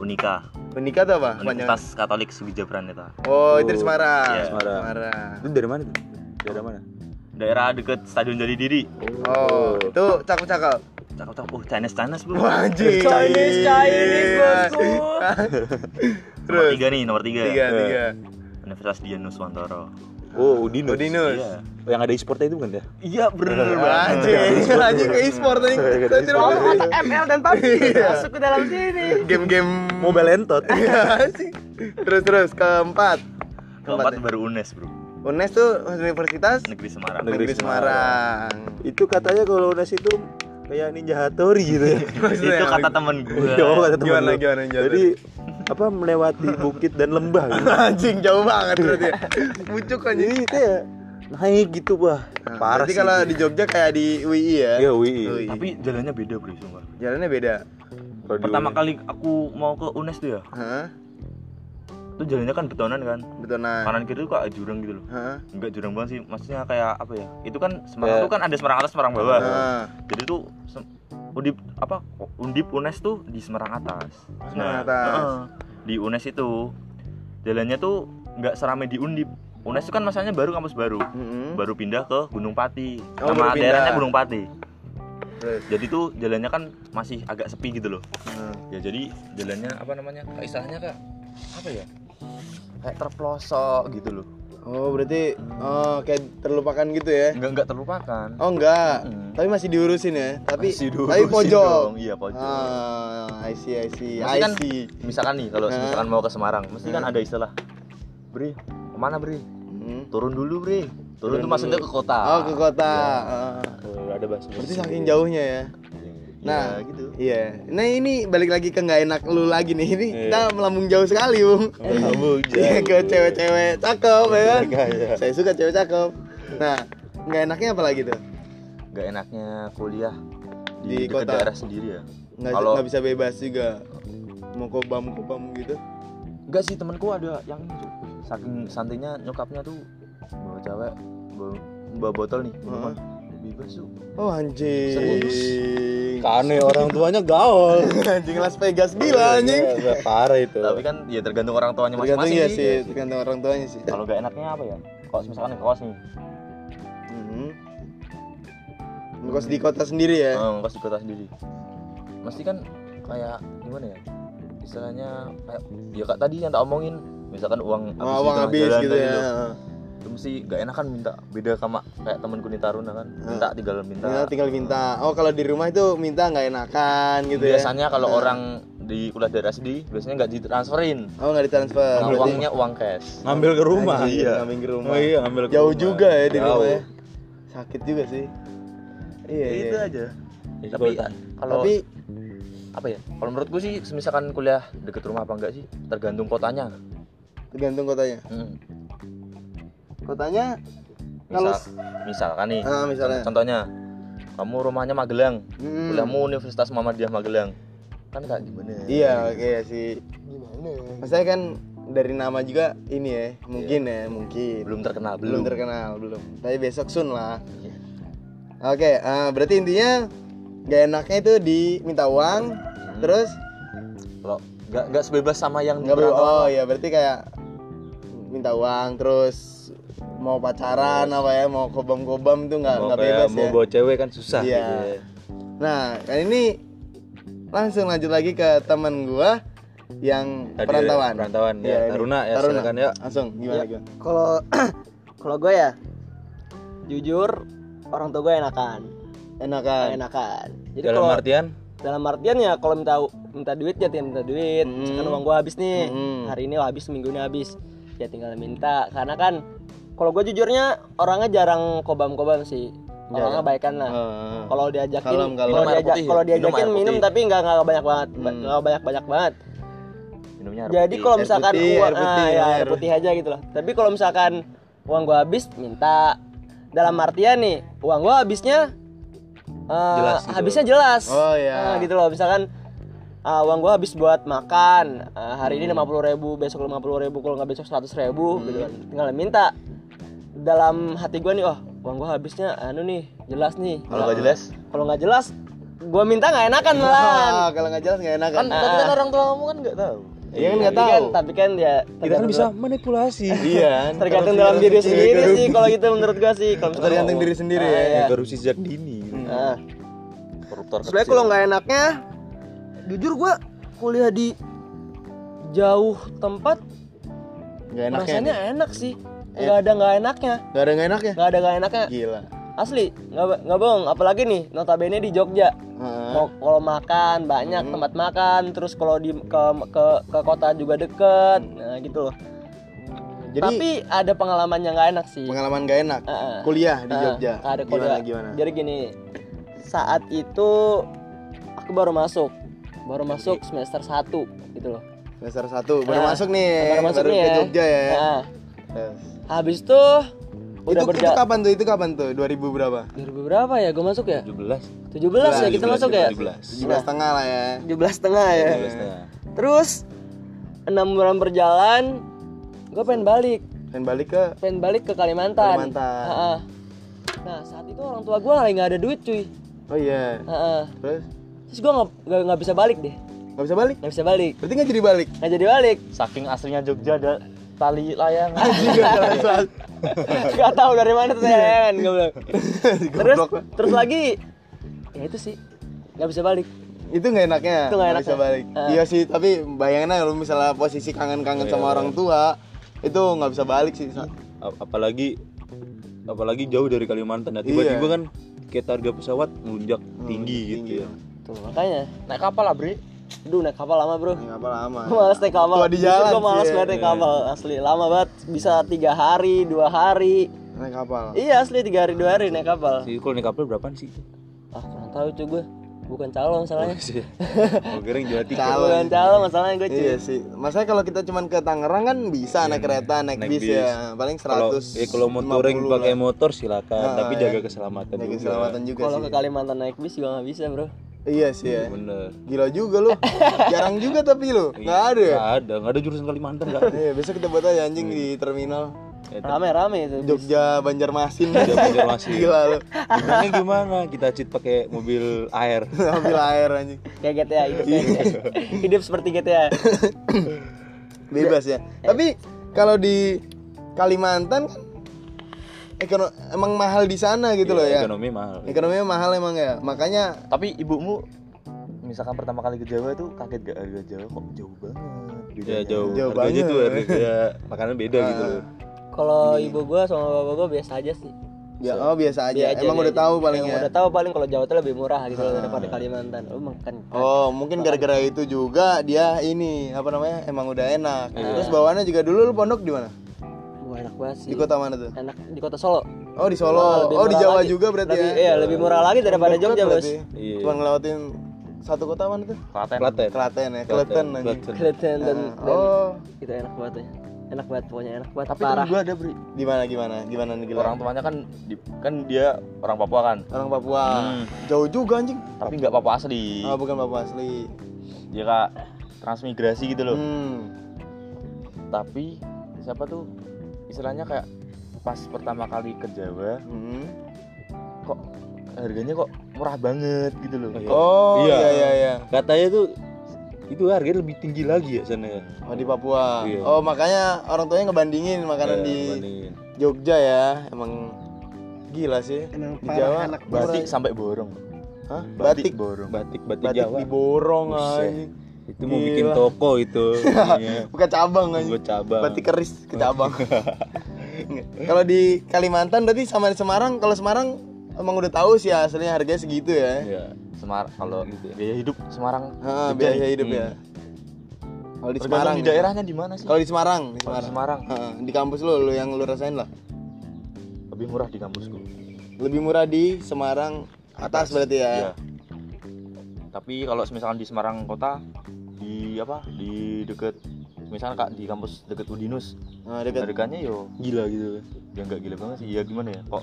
Unika,
Menikah tuh apa? Panjang.
Universitas Katolik Sugija Praneta.
Oh, itu di Semarang.
Iya,
Semarang.
Semarang.
Itu dari mana tuh? Daerah mana?
Daerah deket Stadion Jati Diri.
Oh, itu cakep-cakep.
Cakep-cakep. Uh, Chinese-Chinese, Bu.
Wah, anjing. Iya.
Chinese, Chinese,
*laughs*
bosku.
Nomor
Terus
tiga Eh. nih, nomor tiga.
tiga tiga.
Universitas Dianus Wantoro.
Oh, Udinus.
Udinus.
Iya.
Yang ada e-sportnya itu bukan ya?
Iya, bener
Anjing, *laughs* anjing ke e-sport anjing. Saya tidak
Oh,
mau-
ML dan PUBG masuk ke dalam sini.
Game-game *laughs*
Mobile Entot. *laughs*
Iya sih. Terus terus keempat.
Keempat baru UNES, Bro.
UNES tuh Universitas
Negeri Semarang.
Negeri
Negeri
Semarang.
itu katanya kalau Unas itu kayak Ninja Hattori gitu ya. *laughs*
Maksudnya
itu
yang
kata
lagi-
temen gue
Oh, kata temen
Gimana,
lu.
gimana, Ninja
Jadi apa melewati bukit dan lembah gitu.
*laughs*
Anjing jauh banget berarti. ya. Pucuk anjing.
Jadi kayak naik gitu, wah.
Nah,
Parah
berarti
sih.
kalau di Jogja kayak di UI ya.
Iya, UI.
UI.
tapi jalannya beda bro sumpah
Jalannya beda.
Kalau di
pertama
UI.
kali aku mau ke UNES tuh ya
Hah?
itu jalannya kan betonan kan
Betonan.
kanan kiri tuh kayak jurang gitu loh
Hah?
enggak jurang banget sih maksudnya kayak apa ya itu kan Semarang
Ya.
tuh kan ada Semarang atas Semarang bawah
Hah.
jadi tuh Sem- undip apa undip UNES tuh di Semarang atas
Semarang atas.
Nah. heeh. di UNES itu jalannya tuh nggak seramai di undip UNES itu kan masanya baru kampus baru
Mm-mm.
baru pindah ke Gunung Pati
Hmm? Oh, baru
nama
pindah.
daerahnya Gunung Pati
Terus.
jadi tuh jalannya kan masih agak sepi gitu loh
Nah.
ya jadi jalannya apa namanya kayak istilahnya kayak apa ya kayak terpelosok gitu loh
Oh, berarti oh kayak terlupakan gitu ya.
Eh, nggak nggak terlupakan
Oh, enggak.
Mm-mm.
Tapi masih diurusin ya. Tapi
Masih
tapi
diurusin
pojok.
dong. iya pojok
Ah, I see, I see,
Masih
I
kan-
see.
misalkan nih kalau
Hah?
misalkan mau ke Semarang mesti kan ada istilah Bri, kemana Bri?
Hmm.
Turun dulu Bri.
Turun
Turun, tuh
dulu.
maksudnya ke kota.
Oh ke kota.
Iya.
Ah.
Tuh, ada bahasa.
Berarti saking jauhnya ya. Nah.
Nah, gitu.
Iya. Nah ini balik lagi ke nggak enak lu lagi nih. Ini kita melambung jauh sekali, Bung.
Iya. Melambung
Iya
jauh. Iya,
ke cewek-cewek cakep ya kan. Saya suka cewek cakep. Nah, nggak enaknya apa lagi tuh?
Gak enaknya kuliah
Di
di, dekat
kota.
daerah sendiri ya.
Nggak
Kalau-
nggak bisa bebas juga. Mau kobam kobam gitu.
Enggak sih temanku ada yang ini, cuy. saking santainya nyokapnya tuh bawa cewek bawa, bawa botol nih.
Heeh.
Heeh. Bebas tuh.
Oh anjing.
Serius?
Kane orang tuanya gaul.
*laughs* anjing Las Vegas gila anjing.
Iya, Parah itu.
Tapi kan ya tergantung orang tuanya
Tergantung
Iya, masing-masing
ya sih, tergantung orang tuanya sih.
Kalau gak enaknya apa ya? Kalau misalkan ke kos nih,
Hmm. Ngekos di kota sendiri ya.
Eh, pas di kota sendiri. Mesti kan kayak gimana ya? Istilahnya kayak ya kak tadi yang tak omongin, misalkan uang
Oh,
Ah, habis di
uang
tengah
habis
jalan
gitu
tadi Nah.
ya.
loh. Itu mesti gak enak kan minta beda sama kayak temanku nih Taruna kan. Minta tinggal minta.
Tinggal, tinggal minta. Oh kalau di rumah itu minta nggak enakan gitu ya.
biasanya kalau orang di kuliah daerah sendiri biasanya nggak ditransferin.
Oh nggak ditransfer.
Nah,
Berarti-
uangnya uang cash.
Ngambil ke rumah.
Anjing, ngambil ke rumah.
Oh iya, ngambil ke
Jauh
rumah.
juga ya dari
Jauh. Iya,
rumah ya. Sakit juga sih. Iya,
Ya,
iya.
Itu aja.
Jadi
Tapi kan
kalau-
kalau
Tapi
apa ya? Kalau menurutku sih, misalkan kuliah deket rumah apa enggak sih? Tergantung kotanya.
tergantung kotanya.
Hmm.
Kotanya kalau
Misal, misalkan nih,
Ah, misalnya.
contohnya kamu rumahnya Magelang,
Hmm.
kuliahmu Universitas Muhammadiyah Magelang, kan kayak gimana? ya?
Iya, oke sih. Maksudnya kan dari nama juga ini ya, mungkin ya, mungkin.
Belum terkenal,
belum
belum.
terkenal belum tapi besok soon lah oke eh, berarti intinya gak enaknya itu diminta uang terus
Kalau nggak nggak sebebas sama yang
nggak ber-
perantauan.
oh ya berarti kayak minta uang terus mau pacaran apa ya mau kobam-kobam itu nggak
Mau
nggak
kayak
bebas
mau
ya
bawa cewek kan susah
Iya.
gitu ya.
nah kali ini langsung lanjut lagi ke teman gua yang
Tadi
perantauan
perantauan,
Iya,
ya.
ini.
Taruna, ya, silakan, ya.
langsung gimana
Ya.
gimana?
Kalau *clears throat* kalau gue ya jujur orang tua gue enakan,
enakan
enakan. Jadi
Dalam
kalau
artian
dalam artian ya kalau minta minta duit ya tinggal minta duit
Hmm.
misalkan uang gue habis nih
Hmm.
hari ini habis minggu ini habis ya tinggal minta karena kan kalau gue jujurnya orangnya jarang kobam-kobam sih orangnya baikan lah
Eh,
kalau diajakin
Kalem, kalem.
kalau
Minum air
diajak
putih ya?
kalau
Minum
diajakin
air
minum,
putih.
tapi nggak nggak banyak banget Ba-
Hmm.
nggak banyak banyak banget
Minumnya air
jadi
putih.
kalau
Air
misalkan
putih,
uang
air putih,
ah, ya,
minum
air
air.
putih aja gitu loh tapi kalau misalkan uang gue habis minta dalam artian nih uang gue habisnya eh,
Jelas gitu.
habisnya jelas
Oh, iya.
Ah, gitu loh misalkan ah, uang gue habis buat makan ah, hari ini lima puluh ribu besok lima puluh ribu kalau nggak besok seratus ribu gitu kan tinggal minta dalam hati gue nih oh uang gue habisnya anu nih jelas nih Nah,
kalau nggak jelas,
kalau nggak jelas gue minta nggak enakan malahan
ah, kalau nggak jelas nggak enakan
kan tapi kan orang tua kamu kan nggak tahu.
Iya kan nggak
Tapi kan-
tahu.
tapi kan ya
kita kan
tergantung
bisa manipulasi.
Iya.
tergantung dalam diri sendiri sih kalau gitu menurut gua sih kalau misalkan
Tergantung diri sendiri ya.
Iya.
Korupsi sejak dini.
Nah,
Koruptor.
sebenarnya kalau nggak enaknya jujur gua kuliah di jauh tempat
Gak enaknya. Iya.
rasanya enak sih nggak ada nggak enaknya
Gak ya? ada gak enaknya.
nggak ada nggak enaknya
Gila.
asli nggak nggak bohong apalagi nih notabene di Jogja
Heeh.
mau kalau makan banyak
Hmm.
tempat makan terus kalau di ke, ke ke kota juga deket nah gitu loh
Jadi
tapi ada pengalaman yang nggak enak sih
pengalaman gak enak.
Heeh.
Kuliah di
Ah,
Jogja.
ada kuliah.
Gimana gimana?
Jadi gini, saat itu aku baru masuk, baru masuk semester 1 gitu loh.
Semester 1 baru
Ah,
masuk nih.
baru masuk nih
Eh, ke
ya.
Jogja ya.
Nah,
Yes.
habis itu udah
Itu, itu
berjalan
kapan tuh? Itu kapan tuh? 2000 berapa?
berapa ya gue masuk ya?
17.
17, ya kita masuk ya?
17 setengah lah ya.
17 setengah ya. Terus 6 bulan berjalan gue pengen balik,
Dan balik ke
pengen balik ke Kalimantan.
Kalimantan.
Ah, ah. Nah, saat itu orang tua gue lagi nggak ada duit, cuy.
Oh iya.
Ah, ah.
Terus
Terus gue nggak bisa balik deh,
nggak bisa balik?
nggak bisa balik.
Berarti nggak jadi balik.
Nggak jadi balik. *laughs*
Saking aslinya Jogja ada tali layang.
*laughs*
Gak tahu dari mana tuh Sen Gak bilang. Terus
Goblok lah.
terus lagi ya itu sih nggak bisa balik.
itu nggak enaknya
Itu nggak
bisa
enaknya.
balik
Ah.
iya sih tapi bayangin aja lu misalnya posisi kangen-kangen
Oh, iya,
sama orang tua itu nggak bisa balik sih Sa.
Ap- apalagi apalagi jauh dari Kalimantan nah, tiba-tiba
Iya. Hmm,
kan kayak harga pesawat melunjak tinggi gitu
tinggi.
ya
Tuh makanya
Naik kapal lah, Bre.
Aduh naik kapal lama bro
Naik kapal lama. ya.
Gua males naik kapal
Tua di jalan. ya, iya.
Gue males
cie.
banget naik kapal Asli lama banget Bisa tiga hari dua hari
Naik kapal.
Iya asli tiga hari dua hari naik kapal
Si kalau naik kapal berapaan sih?
Ah kurang tahu cuy gue Bukan calon
*laughs*
masalahnya
Kalau kering jual tiket.
Bukan calon masalahnya gue cuy
Iya sih. Masanya kalau kita cuman ke Tangerang kan bisa
Iya,
naik kereta, naik,
naik
bis,
bis.
ya. Paling 100.
Kalau eh, kalau mau touring pakai motor
Ah,
silakan, tapi
iya.
jaga keselamatan
Jaga
juga.
keselamatan juga
Kalau
sih.
ke Kalimantan naik bis juga nggak bisa bro
Iya sih ya.
Bener.
Gila juga
*laughs*
lu. Jarang juga tapi lu.
Iya.
Enggak ada. ya?
Gak ada, gak ada jurusan Kalimantan gak ada.
Iya, besok kita buat aja anjing di
Iya.
terminal
Rame-rame itu bis.
Jogja Banjarmasin.
Iya,
Jogja Banjarmasin.
Gila lu.
Gimana gimana? Kita cheat pakai mobil air.
Ambil air anjing.
Kayak GTA hidup, kayak GTA.
Iya.
hidup seperti GTA
Bebas
Iya.
ya. Tapi kalau di Kalimantan kan ekono- emang mahal di sana
Iya,
gitu loh ya.
Ekonomi mahal.
Ekonominya mahal emang ya. Makanya
*laughs* Tapi ibumu misalkan pertama kali ke Jawa tuh kaget gak harga Jawa kok jauh banget.
Ya
Iya,
bedanya.
jauh.
Jauh
Harganya
banget.
tuh harga ya, makanan beda gitu loh.
Kalau ibu gue sama bapak gue biasa aja sih
ya oh biasa aja.
Biasa aja,
emang udah
biasa.
tahu Ah. paling
Emang
ya.
udah tahu paling kalau Jawa tuh lebih murah gitu loh daripada Kalimantan lu makan
Oh, mungkin gara-gara itu juga dia ini apa namanya? Emang udah enak.
Iya.
Terus bawaannya juga dulu lu pondok di mana?
Wah, enak banget sih
Di kota mana tuh?
enak di kota Solo
Oh, di Solo.
lebih
Oh, di
murah
Jawa
lagi.
juga berarti
lebih,
ya.
iya, lebih murah lagi daripada
Dekat
Jogja bos
berarti.
Iya.
Cuma ngelewatin satu kota mana tuh?
Klaten.
Klaten.
Kelaten ya, Kelaten anjing.
Klaten.
kelihatan dan, dan
Oh,
itu enak banget ya enak banget pokoknya enak banget
Tapi
parah
temen gue ada beri.
gimana gimana? Gimana nih gila?
Orang tuanya kan di- kan dia orang Papua kan.
Orang Papua. Jauh juga anjing.
Tapi nggak Papua asli.
Oh, bukan Papua asli.
Dia kak transmigrasi gitu loh.
Hmm.
Tapi siapa tuh istilahnya kayak pas pertama kali ke Jawa
Hmm.
kok harganya kok murah banget gitu loh.
Oh, iya.
Oh, iya iya iya.
Katanya tuh itu harganya lebih tinggi lagi ya sana ya.
Oh, di Papua.
Iya.
Oh, makanya orang tuanya ngebandingin makanan
Ya,
di
bandingin.
Jogja ya. Emang gila sih. di Jawa
Batik sampai borong.
Hah?
Batik,
Batik.
borong.
batik batik,
Batik
Jawa.
diborong
Buset.
anjing.
Itu mau
Gila.
bikin toko itu. ininya.
Bukan cabang anjing.
Buat cabang.
Batik keris ke cabang. kalau di Kalimantan berarti sama di Semarang, kalau Semarang emang udah tahu sih aslinya harganya segitu ya.
Ya.
Semarang kalau
Gitu ya.
biaya hidup Semarang
Ha,
Jogja
biaya hidup ya. Kalau di Semarang.
di
ya.
daerahnya di mana sih?
Kalau di Semarang, di
Kalau di
Semarang.
Semarang
Ha, di kampus lo, lo yang lo rasain lah.
lebih murah di kampusku.
Lebih murah di Semarang atas berarti ya.
Iya. Tapi kalau misalkan di Semarang kota di apa? Di deket misalkan Kak di kampus deket Udinus,
Nah, dekat.
harganya yo
Gila gitu.
ya nggak gila banget sih. Ya gimana ya? Kok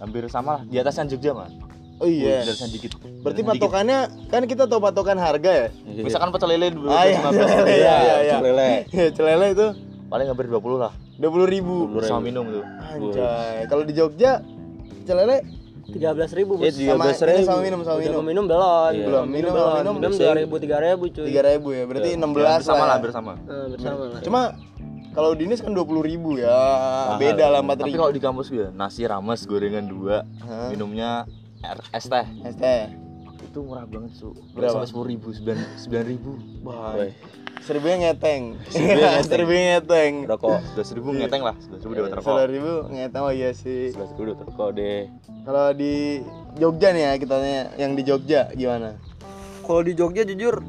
hampir sama lah di atasnya Jogja mah.
Oh iya.
Di atasnya dikit.
Berarti
Di atasnya dikit.
patokannya kan kita tahu patokan harga ya.
misalkan pecel lele dua
Ah, iya, *laughs* celele, iya, iya, *laughs* iya.
Lele.
Ya, celele itu
paling hampir 20 lah
20 ribu.
sama minum tuh.
Anjay. Kalau di Jogja celele
tiga belas ribu bos
Iya,
sama,
13.000.
ini sama minum sama
Udah
minum.
mau minum belum
Iya.
Belum, minum,
minum
belum,
belum
minum.
minum dua ribu tiga ribu cuy
tiga ribu ya berarti enam belas
Sama Iya, lah
lah,
hampir sama.
Eh, bersama lah
ya. cuma kalau dinis kan dua puluh ribu ya beda lah empat
Tapi
ribu
kalau di kampus gue nasi rames gorengan dua,
Hah?
minumnya air- es teh
Es teh.
itu murah banget su
Berapa?
sampai sepuluh ribu sembilan sembilan ribu
Wah, seribunya ngeteng
Seribunya
*laughs*
ngeteng.
seribunya ngeteng
Rokok.
sebelas ribu ngeteng lah sebelas ribu dapat rokok
Seribu ribu ngeteng oh iya sih
Sebelas dulu rokok deh.
kalau di Jogja nih ya kita tanya yang di Jogja gimana
kalau di Jogja jujur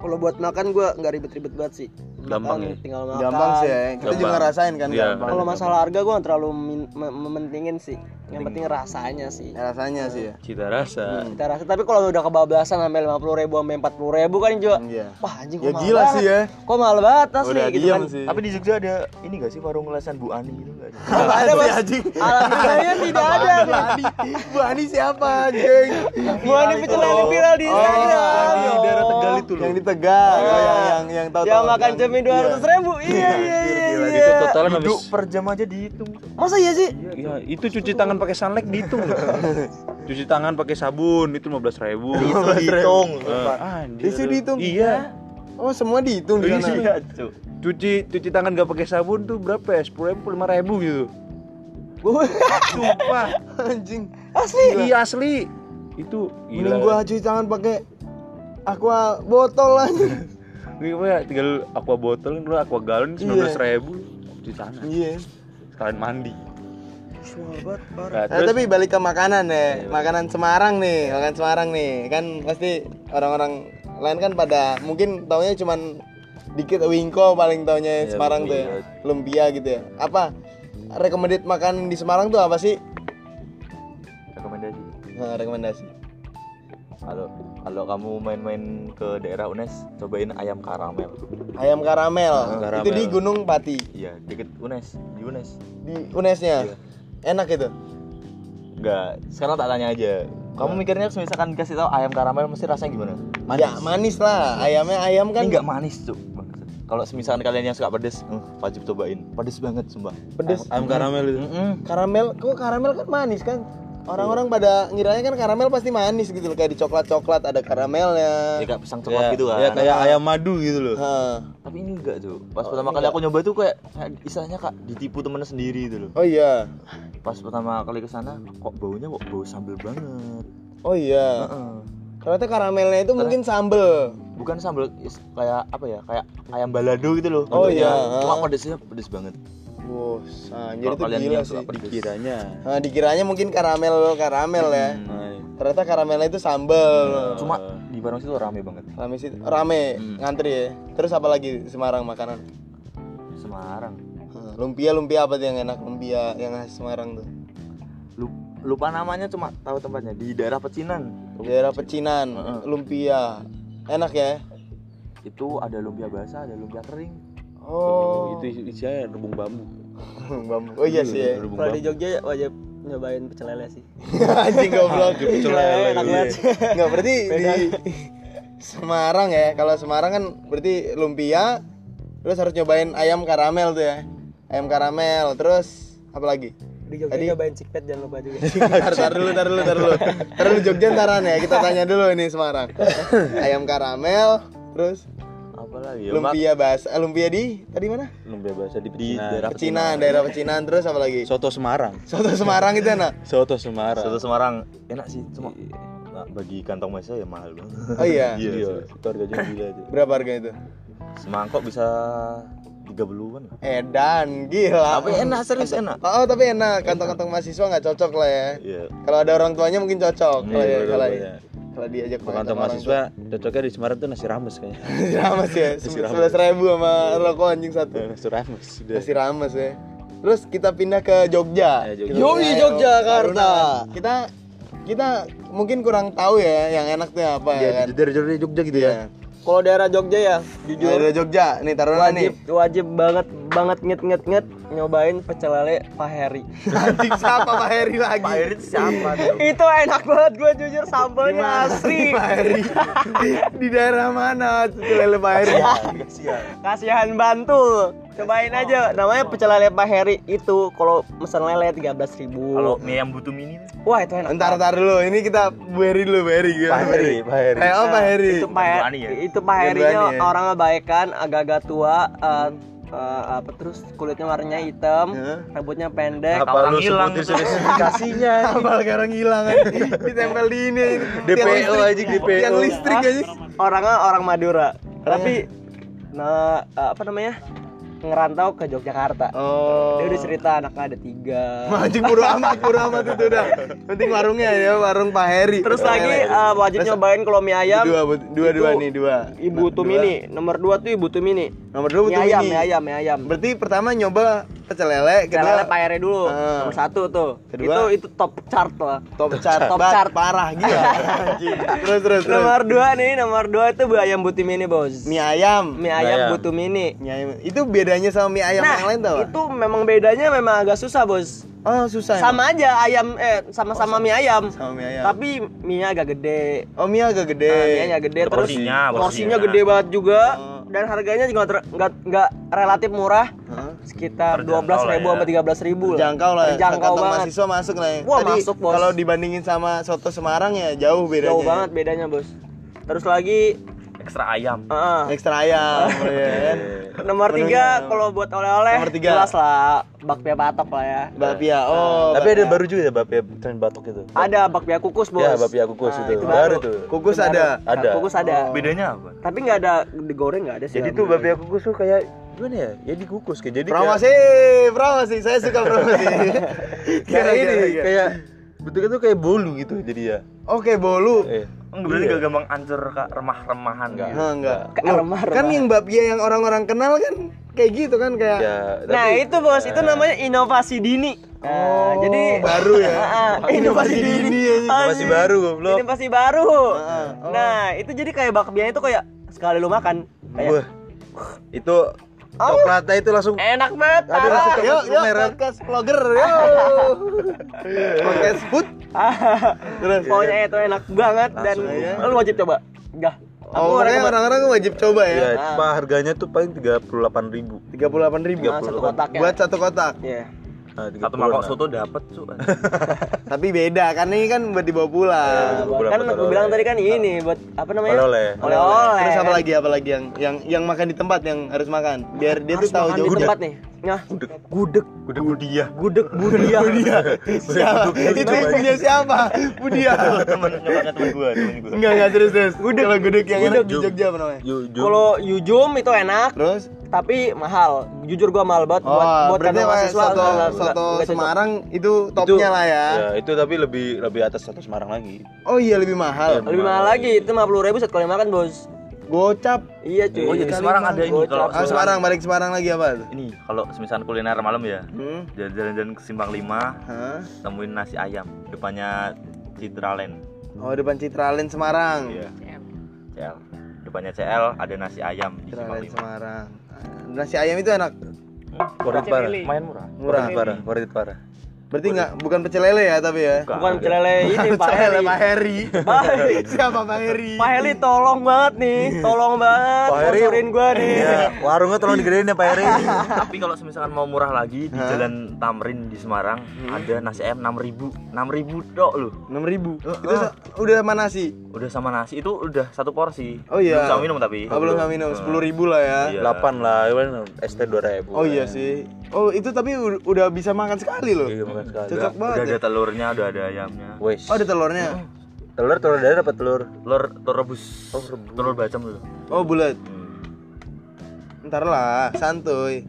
kalau buat makan gue nggak ribet-ribet banget sih
Gampang
Makan,
ya?
tinggal makan
gampang sih ya kita juga
Gampang.
ngerasain kan
Iya,
gampang
kalau masalah harga gue terlalu min- me- mementingin sih yang penting rasanya sih
rasanya sih ya
Cita rasa.
Hmm.
kita rasa tapi kalau udah kebablasan sampai lima puluh ribu sampai empat puluh ribu kan juga
Iya.
wah anjing kok
ya
mahal
gila
banget.
sih ya
kok mahal banget asli
udah
gitu
diam
kan
sih *laughs*
tapi di Jogja ada ini gak sih warung lesan Bu Ani gitu gak sih?
Nggak ada mas alhamdulillahnya tidak ada
Bu Ani siapa anjing
gua ini pecel
Oh.
lele viral di Instagram
yang
yo.
di daerah Tegal kan. itu loh. Yang di Tegal, oh, yang yang yang tahu.
yang makan cemin dua ratus ribu iya iya iya
Itu totalan
duduk
habis.
per jam aja dihitung
masa iya sih
Ya, itu cuci tangan pakai sunlight dihitung loh. *laughs* cuci tangan pakai sabun itu 15.000 ribu. Ah,
itu dihitung
Iya. Anjir.
Itu dihitung?
Iya.
Oh, semua dihitung di sana.
iya cu
Cuci cuci tangan gak pakai sabun tuh berapa ya? 10.000 ribu, 5 ribu gitu.
*laughs*
Sumpah.
Anjing.
asli
Iya asli. Itu
Mending gua cuci tangan pakai aqua botol anjing.
Ini apa ya? Tinggal aqua botol dulu aqua galon 19.000 ribu di sana.
Iya.
Sekalian mandi. Nah,
Nah,
terus-
tapi balik ke makanan ya. Makanan Semarang nih, makan Semarang nih. Kan pasti orang-orang lain kan pada mungkin taunya cuman dikit wingko paling taunya
Iya,
Semarang tuh ya lumpia gitu ya apa recommended makan di Semarang tuh apa sih
rekomendasi
Nah, rekomendasi
kalau kalau kamu main-main ke daerah UNES cobain ayam karamel
ayam karamel.
karamel.
itu di Gunung Pati
iya deket UNES di UNES
di UNESnya
Iya.
enak itu
enggak sekarang tak tanya aja kamu mikirnya harus misalkan kasih tahu ayam karamel mesti rasanya gimana
ya manis lah ayamnya ayam kan
ini enggak manis cuk Bangsat. kalau misalkan kalian yang suka pedes eh, wajib cobain pedes banget sumpah
pedes
ayam karamel itu
Mm-mm.
karamel kok karamel kan manis kan orang-orang pada ngiranya kan karamel pasti manis gitu loh kayak di coklat coklat ada karamelnya
ya kayak pisang
ya,
coklat gitu kan
ya kayak ayam madu gitu loh
Hah.
tapi Oh, ini enggak cuk pas pertama kali aku nyoba itu kayak kayak istilahnya kak ditipu temennya sendiri itu loh
oh iya
pas pertama kali kesana kok baunya kok bau sambel banget
oh iya
Heeh.
ternyata karamelnya itu mungkin sambel
bukan sambal is- kayak apa ya kayak ayam balado gitu loh
Oh,
bentuknya.
iya.
cuma pedesnya pedes banget
bos anjir
Kalau
itu
kalian
gila
yang
sih
suka pedes
kiranya
Nah, dikiranya mungkin karamel karamel ya ternyata karamelnya itu sambel
cuma di Bandung situ rame banget
rame sih rame ngantri ya terus apa lagi Semarang makanan
Semarang
Hah, lumpia lumpia apa tuh yang enak lumpia yang khas Semarang tuh
Lu- lupa namanya cuma tahu tempatnya di daerah Pecinan
daerah pecinan lumpia enak ya
itu ada lumpia basah ada lumpia kering
oh
itu is- isinya rebung bambu
Bambu. oh *laughs* iya sih ya.
rebung
Kalau di
bambu
Jogja wajib nyobain pecel lele sih.
*laughs* anjing goblok
Pecel lele enak banget. sih.
nggak
*laughs*
berarti di Semarang ya kalau Semarang kan berarti lumpia terus harus nyobain ayam karamel tuh ya ayam karamel terus apa
*laughs*
lagi
*laughs* Di Jogja
Tadi-
nyobain cikpet jangan lupa juga.
Ntar, ntar dulu, ntar dulu, ntar dulu. Ntar dulu Jogja ntaran ya, kita tanya dulu ini Semarang. Ayam karamel, terus
apalagi ya Mak?
lumpia bahasa, eh, lumpia di tadi mana?
lumpia basah di
di
Pecinan.
daerah
Pecinan, daerah Pecinan, terus apa lagi?
soto Semarang
Soto Semarang itu enak.
soto Semarang
Soto Semarang enak sih cuma nah, bagi kantong masa ya mahal banget
Oh *laughs* iya.
*laughs* Iya,
iya
serius.
itu harganya
*laughs*
gila itu
Berapa harga itu?
semangkok bisa 30-an lah.
Edan, gila.
tapi enak serius enak
Oh, tapi enak. Kantong-kantong mahasiswa nggak cocok lah ya.
iya
Kalau ada orang tuanya mungkin cocok. Kalau ya,
Iya,
kalau
iya.
kalau diajak makan
Bukan
sama orang
mahasiswa,
*laughs*
cocoknya di Semarang tuh nasi rames kayaknya.
tua. Nasi rames ya, sebelas ribu sama
Iya.
rokok anjing satu.
*laughs* nasi rames. Udah.
Nasi rames ya. Terus kita pindah ke Jogja.
Ya, Jogja.
Kita
Yoi,
pindah ke
Yogyakarta.
Taruna. Kita kita mungkin kurang tahu ya yang enak tuh apa ya kan.
Iya, dari dari Jogja gitu ya.
Kalau daerah Jogja ya,
Nah,
jujur
dari Jogja nih Taruna nih.
wajib wajib banget banget nget nget nget nyobain pecel lele Pak Heri.
*laughs* Anjing siapa Pak Heri lagi? Pak Heri
*laughs* itu enak banget gue jujur sambalnya asli.
Pak
*laughs*
Heri. Di daerah mana? Pecel lele Pak Heri.
Kasihan Bantul. Cobain aja namanya pecel lele Pak Heri itu kalau mesen lele 13.000
kalau mie yang butuh mini
Wah, itu enak.
Entar entar dulu. Ini kita Bu Heri dulu, Bu Heri gimana?
Pak Heri, Pak Heri.
Eh, oh, Pak Heri.
itu Pak
Berdua nih ya?
itu Pak Herinya
Berdua nih ya?
orangnya baik kan agak-agak tua eh, eh, apa terus kulitnya warnanya hitam
Hah?
rambutnya pendek
apa lu sebutin spesifikasinya
Apal kayak orang hilang kan. *laughs* Ditempel di ini.
DPO aja, DPO.
*laughs* Yang listrik aja. Iya.
orangnya orang Madura tapi nah eh, apa namanya ngerantau ke Yogyakarta
Oh.
dia udah cerita anaknya ada tiga
Anjing buru amat, buru amat itu udah. Penting warungnya ya, warung Pak Heri.
terus
Pecel
lagi
lele.
eh, wajib nyobain kalau mie ayam
dua, bu- dua, dua
itu
nih, dua.
ibu tumini nomor dua tuh ibu tumini
Nomor dua
mie
butuh
ayam
ini.
mie ayam mie ayam
Berarti pertama nyoba pecel lele,
Pecel
kedua
lele Pak Heri dulu
Ah.
nomor satu tuh
Kedua.
itu itu top chart lah
top chart,
Top
Bat,
chart.
parah gila.
*laughs*
Anjing. Terus terus terus.
Nomor dua nih, nomor dua itu bu ayam butim ini bos.
Mie ayam.
Mie ayam butum ini.
Mie ayam. Itu bedanya sama mie ayam
Nah,
yang lain tau gak?
itu memang bedanya memang agak susah bos.
Oh, susah. ya?
Sama aja ayam, eh sama-sama mie ayam.
sama mie ayam.
Tapi mie agak gede.
Oh, mie agak gede.
Nah, mie-nya gede terus
Porsinya, porsinya.
porsinya gede banget juga
Oh.
dan harganya juga ter- nggak nggak relatif murah
Hah?
sekitar
Terjangkau
dua belas
lah
ribu
ya.
sama tiga belas ribu
Jangkau lah, ya.
jangkau
kantong
banget
mahasiswa masuk lah ya.
Wah,
Tadi
masuk, Bos.
Kalau dibandingin sama soto Semarang ya jauh bedanya.
jauh
ya.
banget bedanya bos terus lagi
ekstra ayam
eh,
Ekstra ayam, ya kan?
Nomor tiga kalau buat oleh-oleh
Nomor tiga.
jelas lah bakpia patok lah ya.
Bapia. Oh,
Tapi ada
bakpia.
baru juga ya Bapak tren batok itu.
Ada bakpia kukus bos.
Ya, bakpia kukus
Nah,
itu.
itu
baru
baru.
tuh.
kukus ada.
Nah,
Ada.
kukus ada.
Oh. bedanya apa
Tapi nggak ada digoreng nggak ada sih.
Jadi tuh bakpia kukus tuh kayak gimana ya? Ya dikukus kayak jadi kayak-
Promosi, promosi. Saya suka promosi.
kayak
Kira-kira.
ini kayak bentuknya tuh kayak bolu gitu jadi ya.
Oke, bolu.
Eh.
Enggak berarti
Iya.
gak gampang hancur kak remah-remahan
Enggak.
gitu.
Nah, enggak.
Kayak
Loh,
remah,
Kan
remah.
yang babia yang orang-orang kenal kan kayak gitu kan kayak
Ya,
Nah
tapi-
itu bos, itu namanya inovasi dini. Nah, jadi
baru ya.
*laughs* Ah, inovasi dini.
Masih
nah.
baru goblok.
Inovasi baru.
oh.
Nah itu jadi kayak bakpia itu kayak sekali lu makan kayak
Wah. Itu coklatnya itu langsung
enak banget.
Ada
parah."
rasa-
Yuk, yuk,
Merah.
podcast vlogger, yuk. podcast food. Terus.
Pokoknya itu enak banget dan
aja.
lu wajib coba. Enggak. Aku Nah,
Oh, makanya
orang Iya,
orang-orang wajib coba ya.
ya, cuma
Ah,
harganya tuh paling 38.000 ribu.
Tiga puluh delapan ribu.
satu kotak ya.
Buat satu kotak.
Iya.
Ah,
Satu mangkok soto dapet tuh.
Tapi beda, karena ini kan buat dibawa pulang.
Nah,
bulan
kan
buat
aku bilang tadi kan
Nah.
ini buat apa namanya?
Oleh-oleh.
Oleh-oleh.
Terus apa lagi apa lagi yang yang yang makan di tempat yang harus makan biar dia
Harus
tuh tahu
makan di
jauh
tempat nih. Nah,
Gudeg, gudeg budia.
gudeg budia.
siapa *laughs* itu punya siapa Budia
Temen
*laughs*
nyokapnya temen gua, temen gua.
enggak enggak terus terus kalau gudeg yang enak di
Gudeg.
Jogja apa namanya
Kalau yujum itu enak,
terus
tapi mahal. Jujur gua mahal banget buat
oh
buat
berarti
kantong
apa
mahasiswa.
soto
enggak, enggak, Iya.
soto
enggak cocok.
Semarang itu topnya lah ya
Ya, itu tapi lebih lebih atas satu Semarang lagi.
oh iya lebih mahal
Lebih mahal lagi, itu 50 ribu satu kali makan bos
gocap
Iya cuy
Oh, jadi
Kali
Semarang
makan.
ada ini,
Gocap.
kalau-
ah Semarang balik Semarang lagi apa tuh
Ini kalau semisal kuliner malam ya,
hmm?
jalan-jalan ke Simpang 5,
Hah?
temuin nasi ayam depannya Citraland.
oh depan Citraland Semarang
Iya. CL. Depannya CL ada nasi ayam di Simpang
Citraland Semarang Ah, nasi ayam itu enak
5.
Favorit parah.
Lumayan murah.
murah
Favorit parah, favorit parah.
berarti nggak bukan pecel lele ya tapi ya
Bukan celele ini
*laughs*
Pak
Pecel
Heli
lele Pak Heri *laughs*
Pak Heri.
siapa Pak Heri
Pak Heli tolong banget nih
Iya.
Tolong banget
Pak Heri-
Sponsorin gua nih
Iya, warungnya tolong digedein ya Pak Eri.
*laughs* Tapi kalau semisalkan mau murah lagi di Jalan Tamrin di Semarang
Hmm.
ada nasi ayam 6000. 6000 dok loh.
enam ribu Oh, itu sa- udah mana sih
Udah sama nasi itu udah satu porsi.
Oh iya.
Belum sama minum tapi.
Oh, belum nggak minum sepuluh ribu lah ya.
Iya.
8 lah, kemarin ST 2000.
Oh iya sih. Oh itu tapi u- udah bisa makan sekali loh.
Iya, makan sekali.
Cocok banget.
Udah
ya.
ada telurnya, udah ada ayamnya.
Wes.
Oh ada telurnya.
Telur telur dari dapat telur.
Telur telur rebus. Telur bacem dulu.
Oh bulat. Ntar lah, santuy.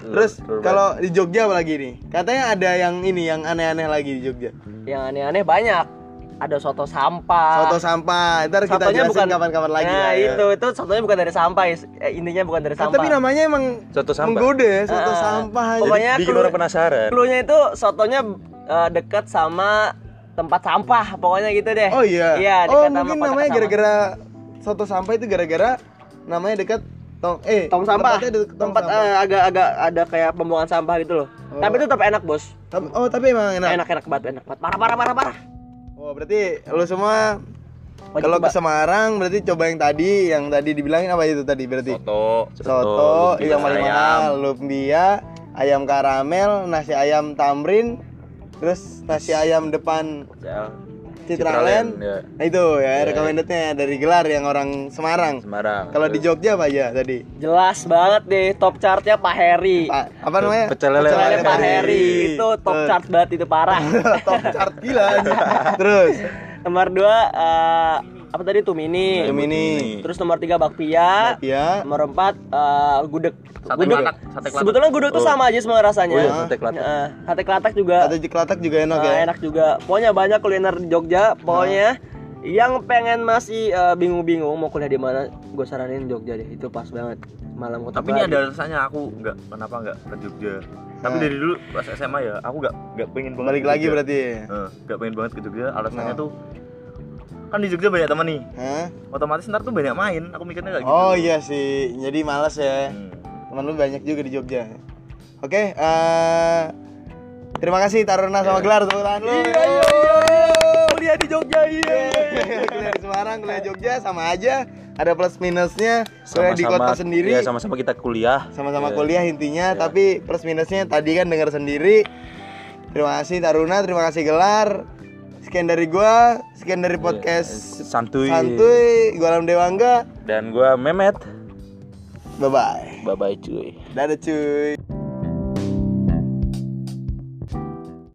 Terus
telur
kalau di Jogja apa lagi nih? Katanya ada yang ini yang aneh-aneh lagi di Jogja.
Yang aneh-aneh banyak Ada soto sampah
Soto sampah. Ntar kita
Sotonya
jelasin kapan-kapan lagi.
Nah
lah ya.
itu Itu sotonya bukan dari sampah ya. Eh, Intinya bukan dari
Ah,
sampah
tapi namanya emang
Soto sampah.
menggoda ya, soto
Ah,
sampah. aja.
Pokoknya
Bikin
clue-
orang penasaran.
clue-nya itu Sotonya eh, dekat sama tempat sampah Pokoknya gitu deh
Oh iya.
Iya
oh
dekat sama
mungkin
kotak
namanya
sampah.
gara-gara soto sampah itu gara-gara namanya dekat tong eh
tong sampah
tempatnya dekat tong
tempat
sampah.
eh, agak-agak ada kayak pembuangan sampah gitu loh tapi itu tetap enak bos
Tam- oh tapi emang enak.
enak enak banget enak banget parah parah parah parah
Oh berarti lu semua
Wajib
kalau
coba.
ke Semarang berarti coba yang tadi yang tadi dibilangin apa itu tadi berarti
Soto.
soto, iya,
lumpia,
yang paling
ayam.
mahal lumpia ayam karamel nasi ayam tamrin terus nasi ayam depan
CL.
Citraland,
ya.
nah, itu ya recommendednya dari gelar yang orang Semarang
Semarang.
kalau di Jogja apa aja tadi
jelas banget deh top chartnya Pak Heri
Pak, apa namanya?
Pecel lele
Soalnya
Pak
Pak Heri itu top
Eh,
chart banget itu parah
top chart gila. Terus
nomor dua eh, apa tadi tuh mini
yang ini
terus nomor tiga bakpia
ya
nomor empat eh, gudeg
Sate
Gudeg.
kelatak, sate kelatak.
sebetulnya gudeg tuh sama aja semua rasanya
Oh iya, sate kelatak.
Eh, sate kelatak juga
atau jeklatak juga enak ya.
Nah, enak juga. Pokoknya banyak kuliner di Jogja. Pokoknya yang pengen masih eh, bingung-bingung mau kuliah di mana, gue saranin Jogja deh. Itu pas banget malam kota.
Tapi ini
Bali.
ada rasanya aku nggak kenapa nggak ke Jogja. Tapi
Nah.
dari dulu pas SMA ya, aku nggak nggak pengen banget.
Balik
ke
lagi
Jogja.
berarti.
Eh, nggak pengen banget ke Jogja.
Nah.
Alasannya tuh kan di Jogja banyak teman nih.
Hah?
Otomatis ntar tuh banyak main. Aku mikirnya kayak gitu.
Oh iya sih, jadi males ya.
Hmm.
Temen lu banyak juga di Jogja. Oke, eh, terima kasih Taruna sama Gelar tepuk tangan lu.
iya.
kuliah di Jogja iya.
Kuliah di Semarang, kuliah Jogja sama aja. Ada plus minusnya. Kuliah di
Sama-sama-
kota sendiri.
Iya, sama-sama kita kuliah.
sama-sama kuliah intinya tapi plus minusnya tadi kan dengar sendiri terima kasih Taruna terima kasih gelar sekian dari gua
Iya,
sekian dari podcast
Santuy.
santuy gua Alam Dewangga
Dan gua Memet.
bye bye
Bye bye cuy.
dadah cuy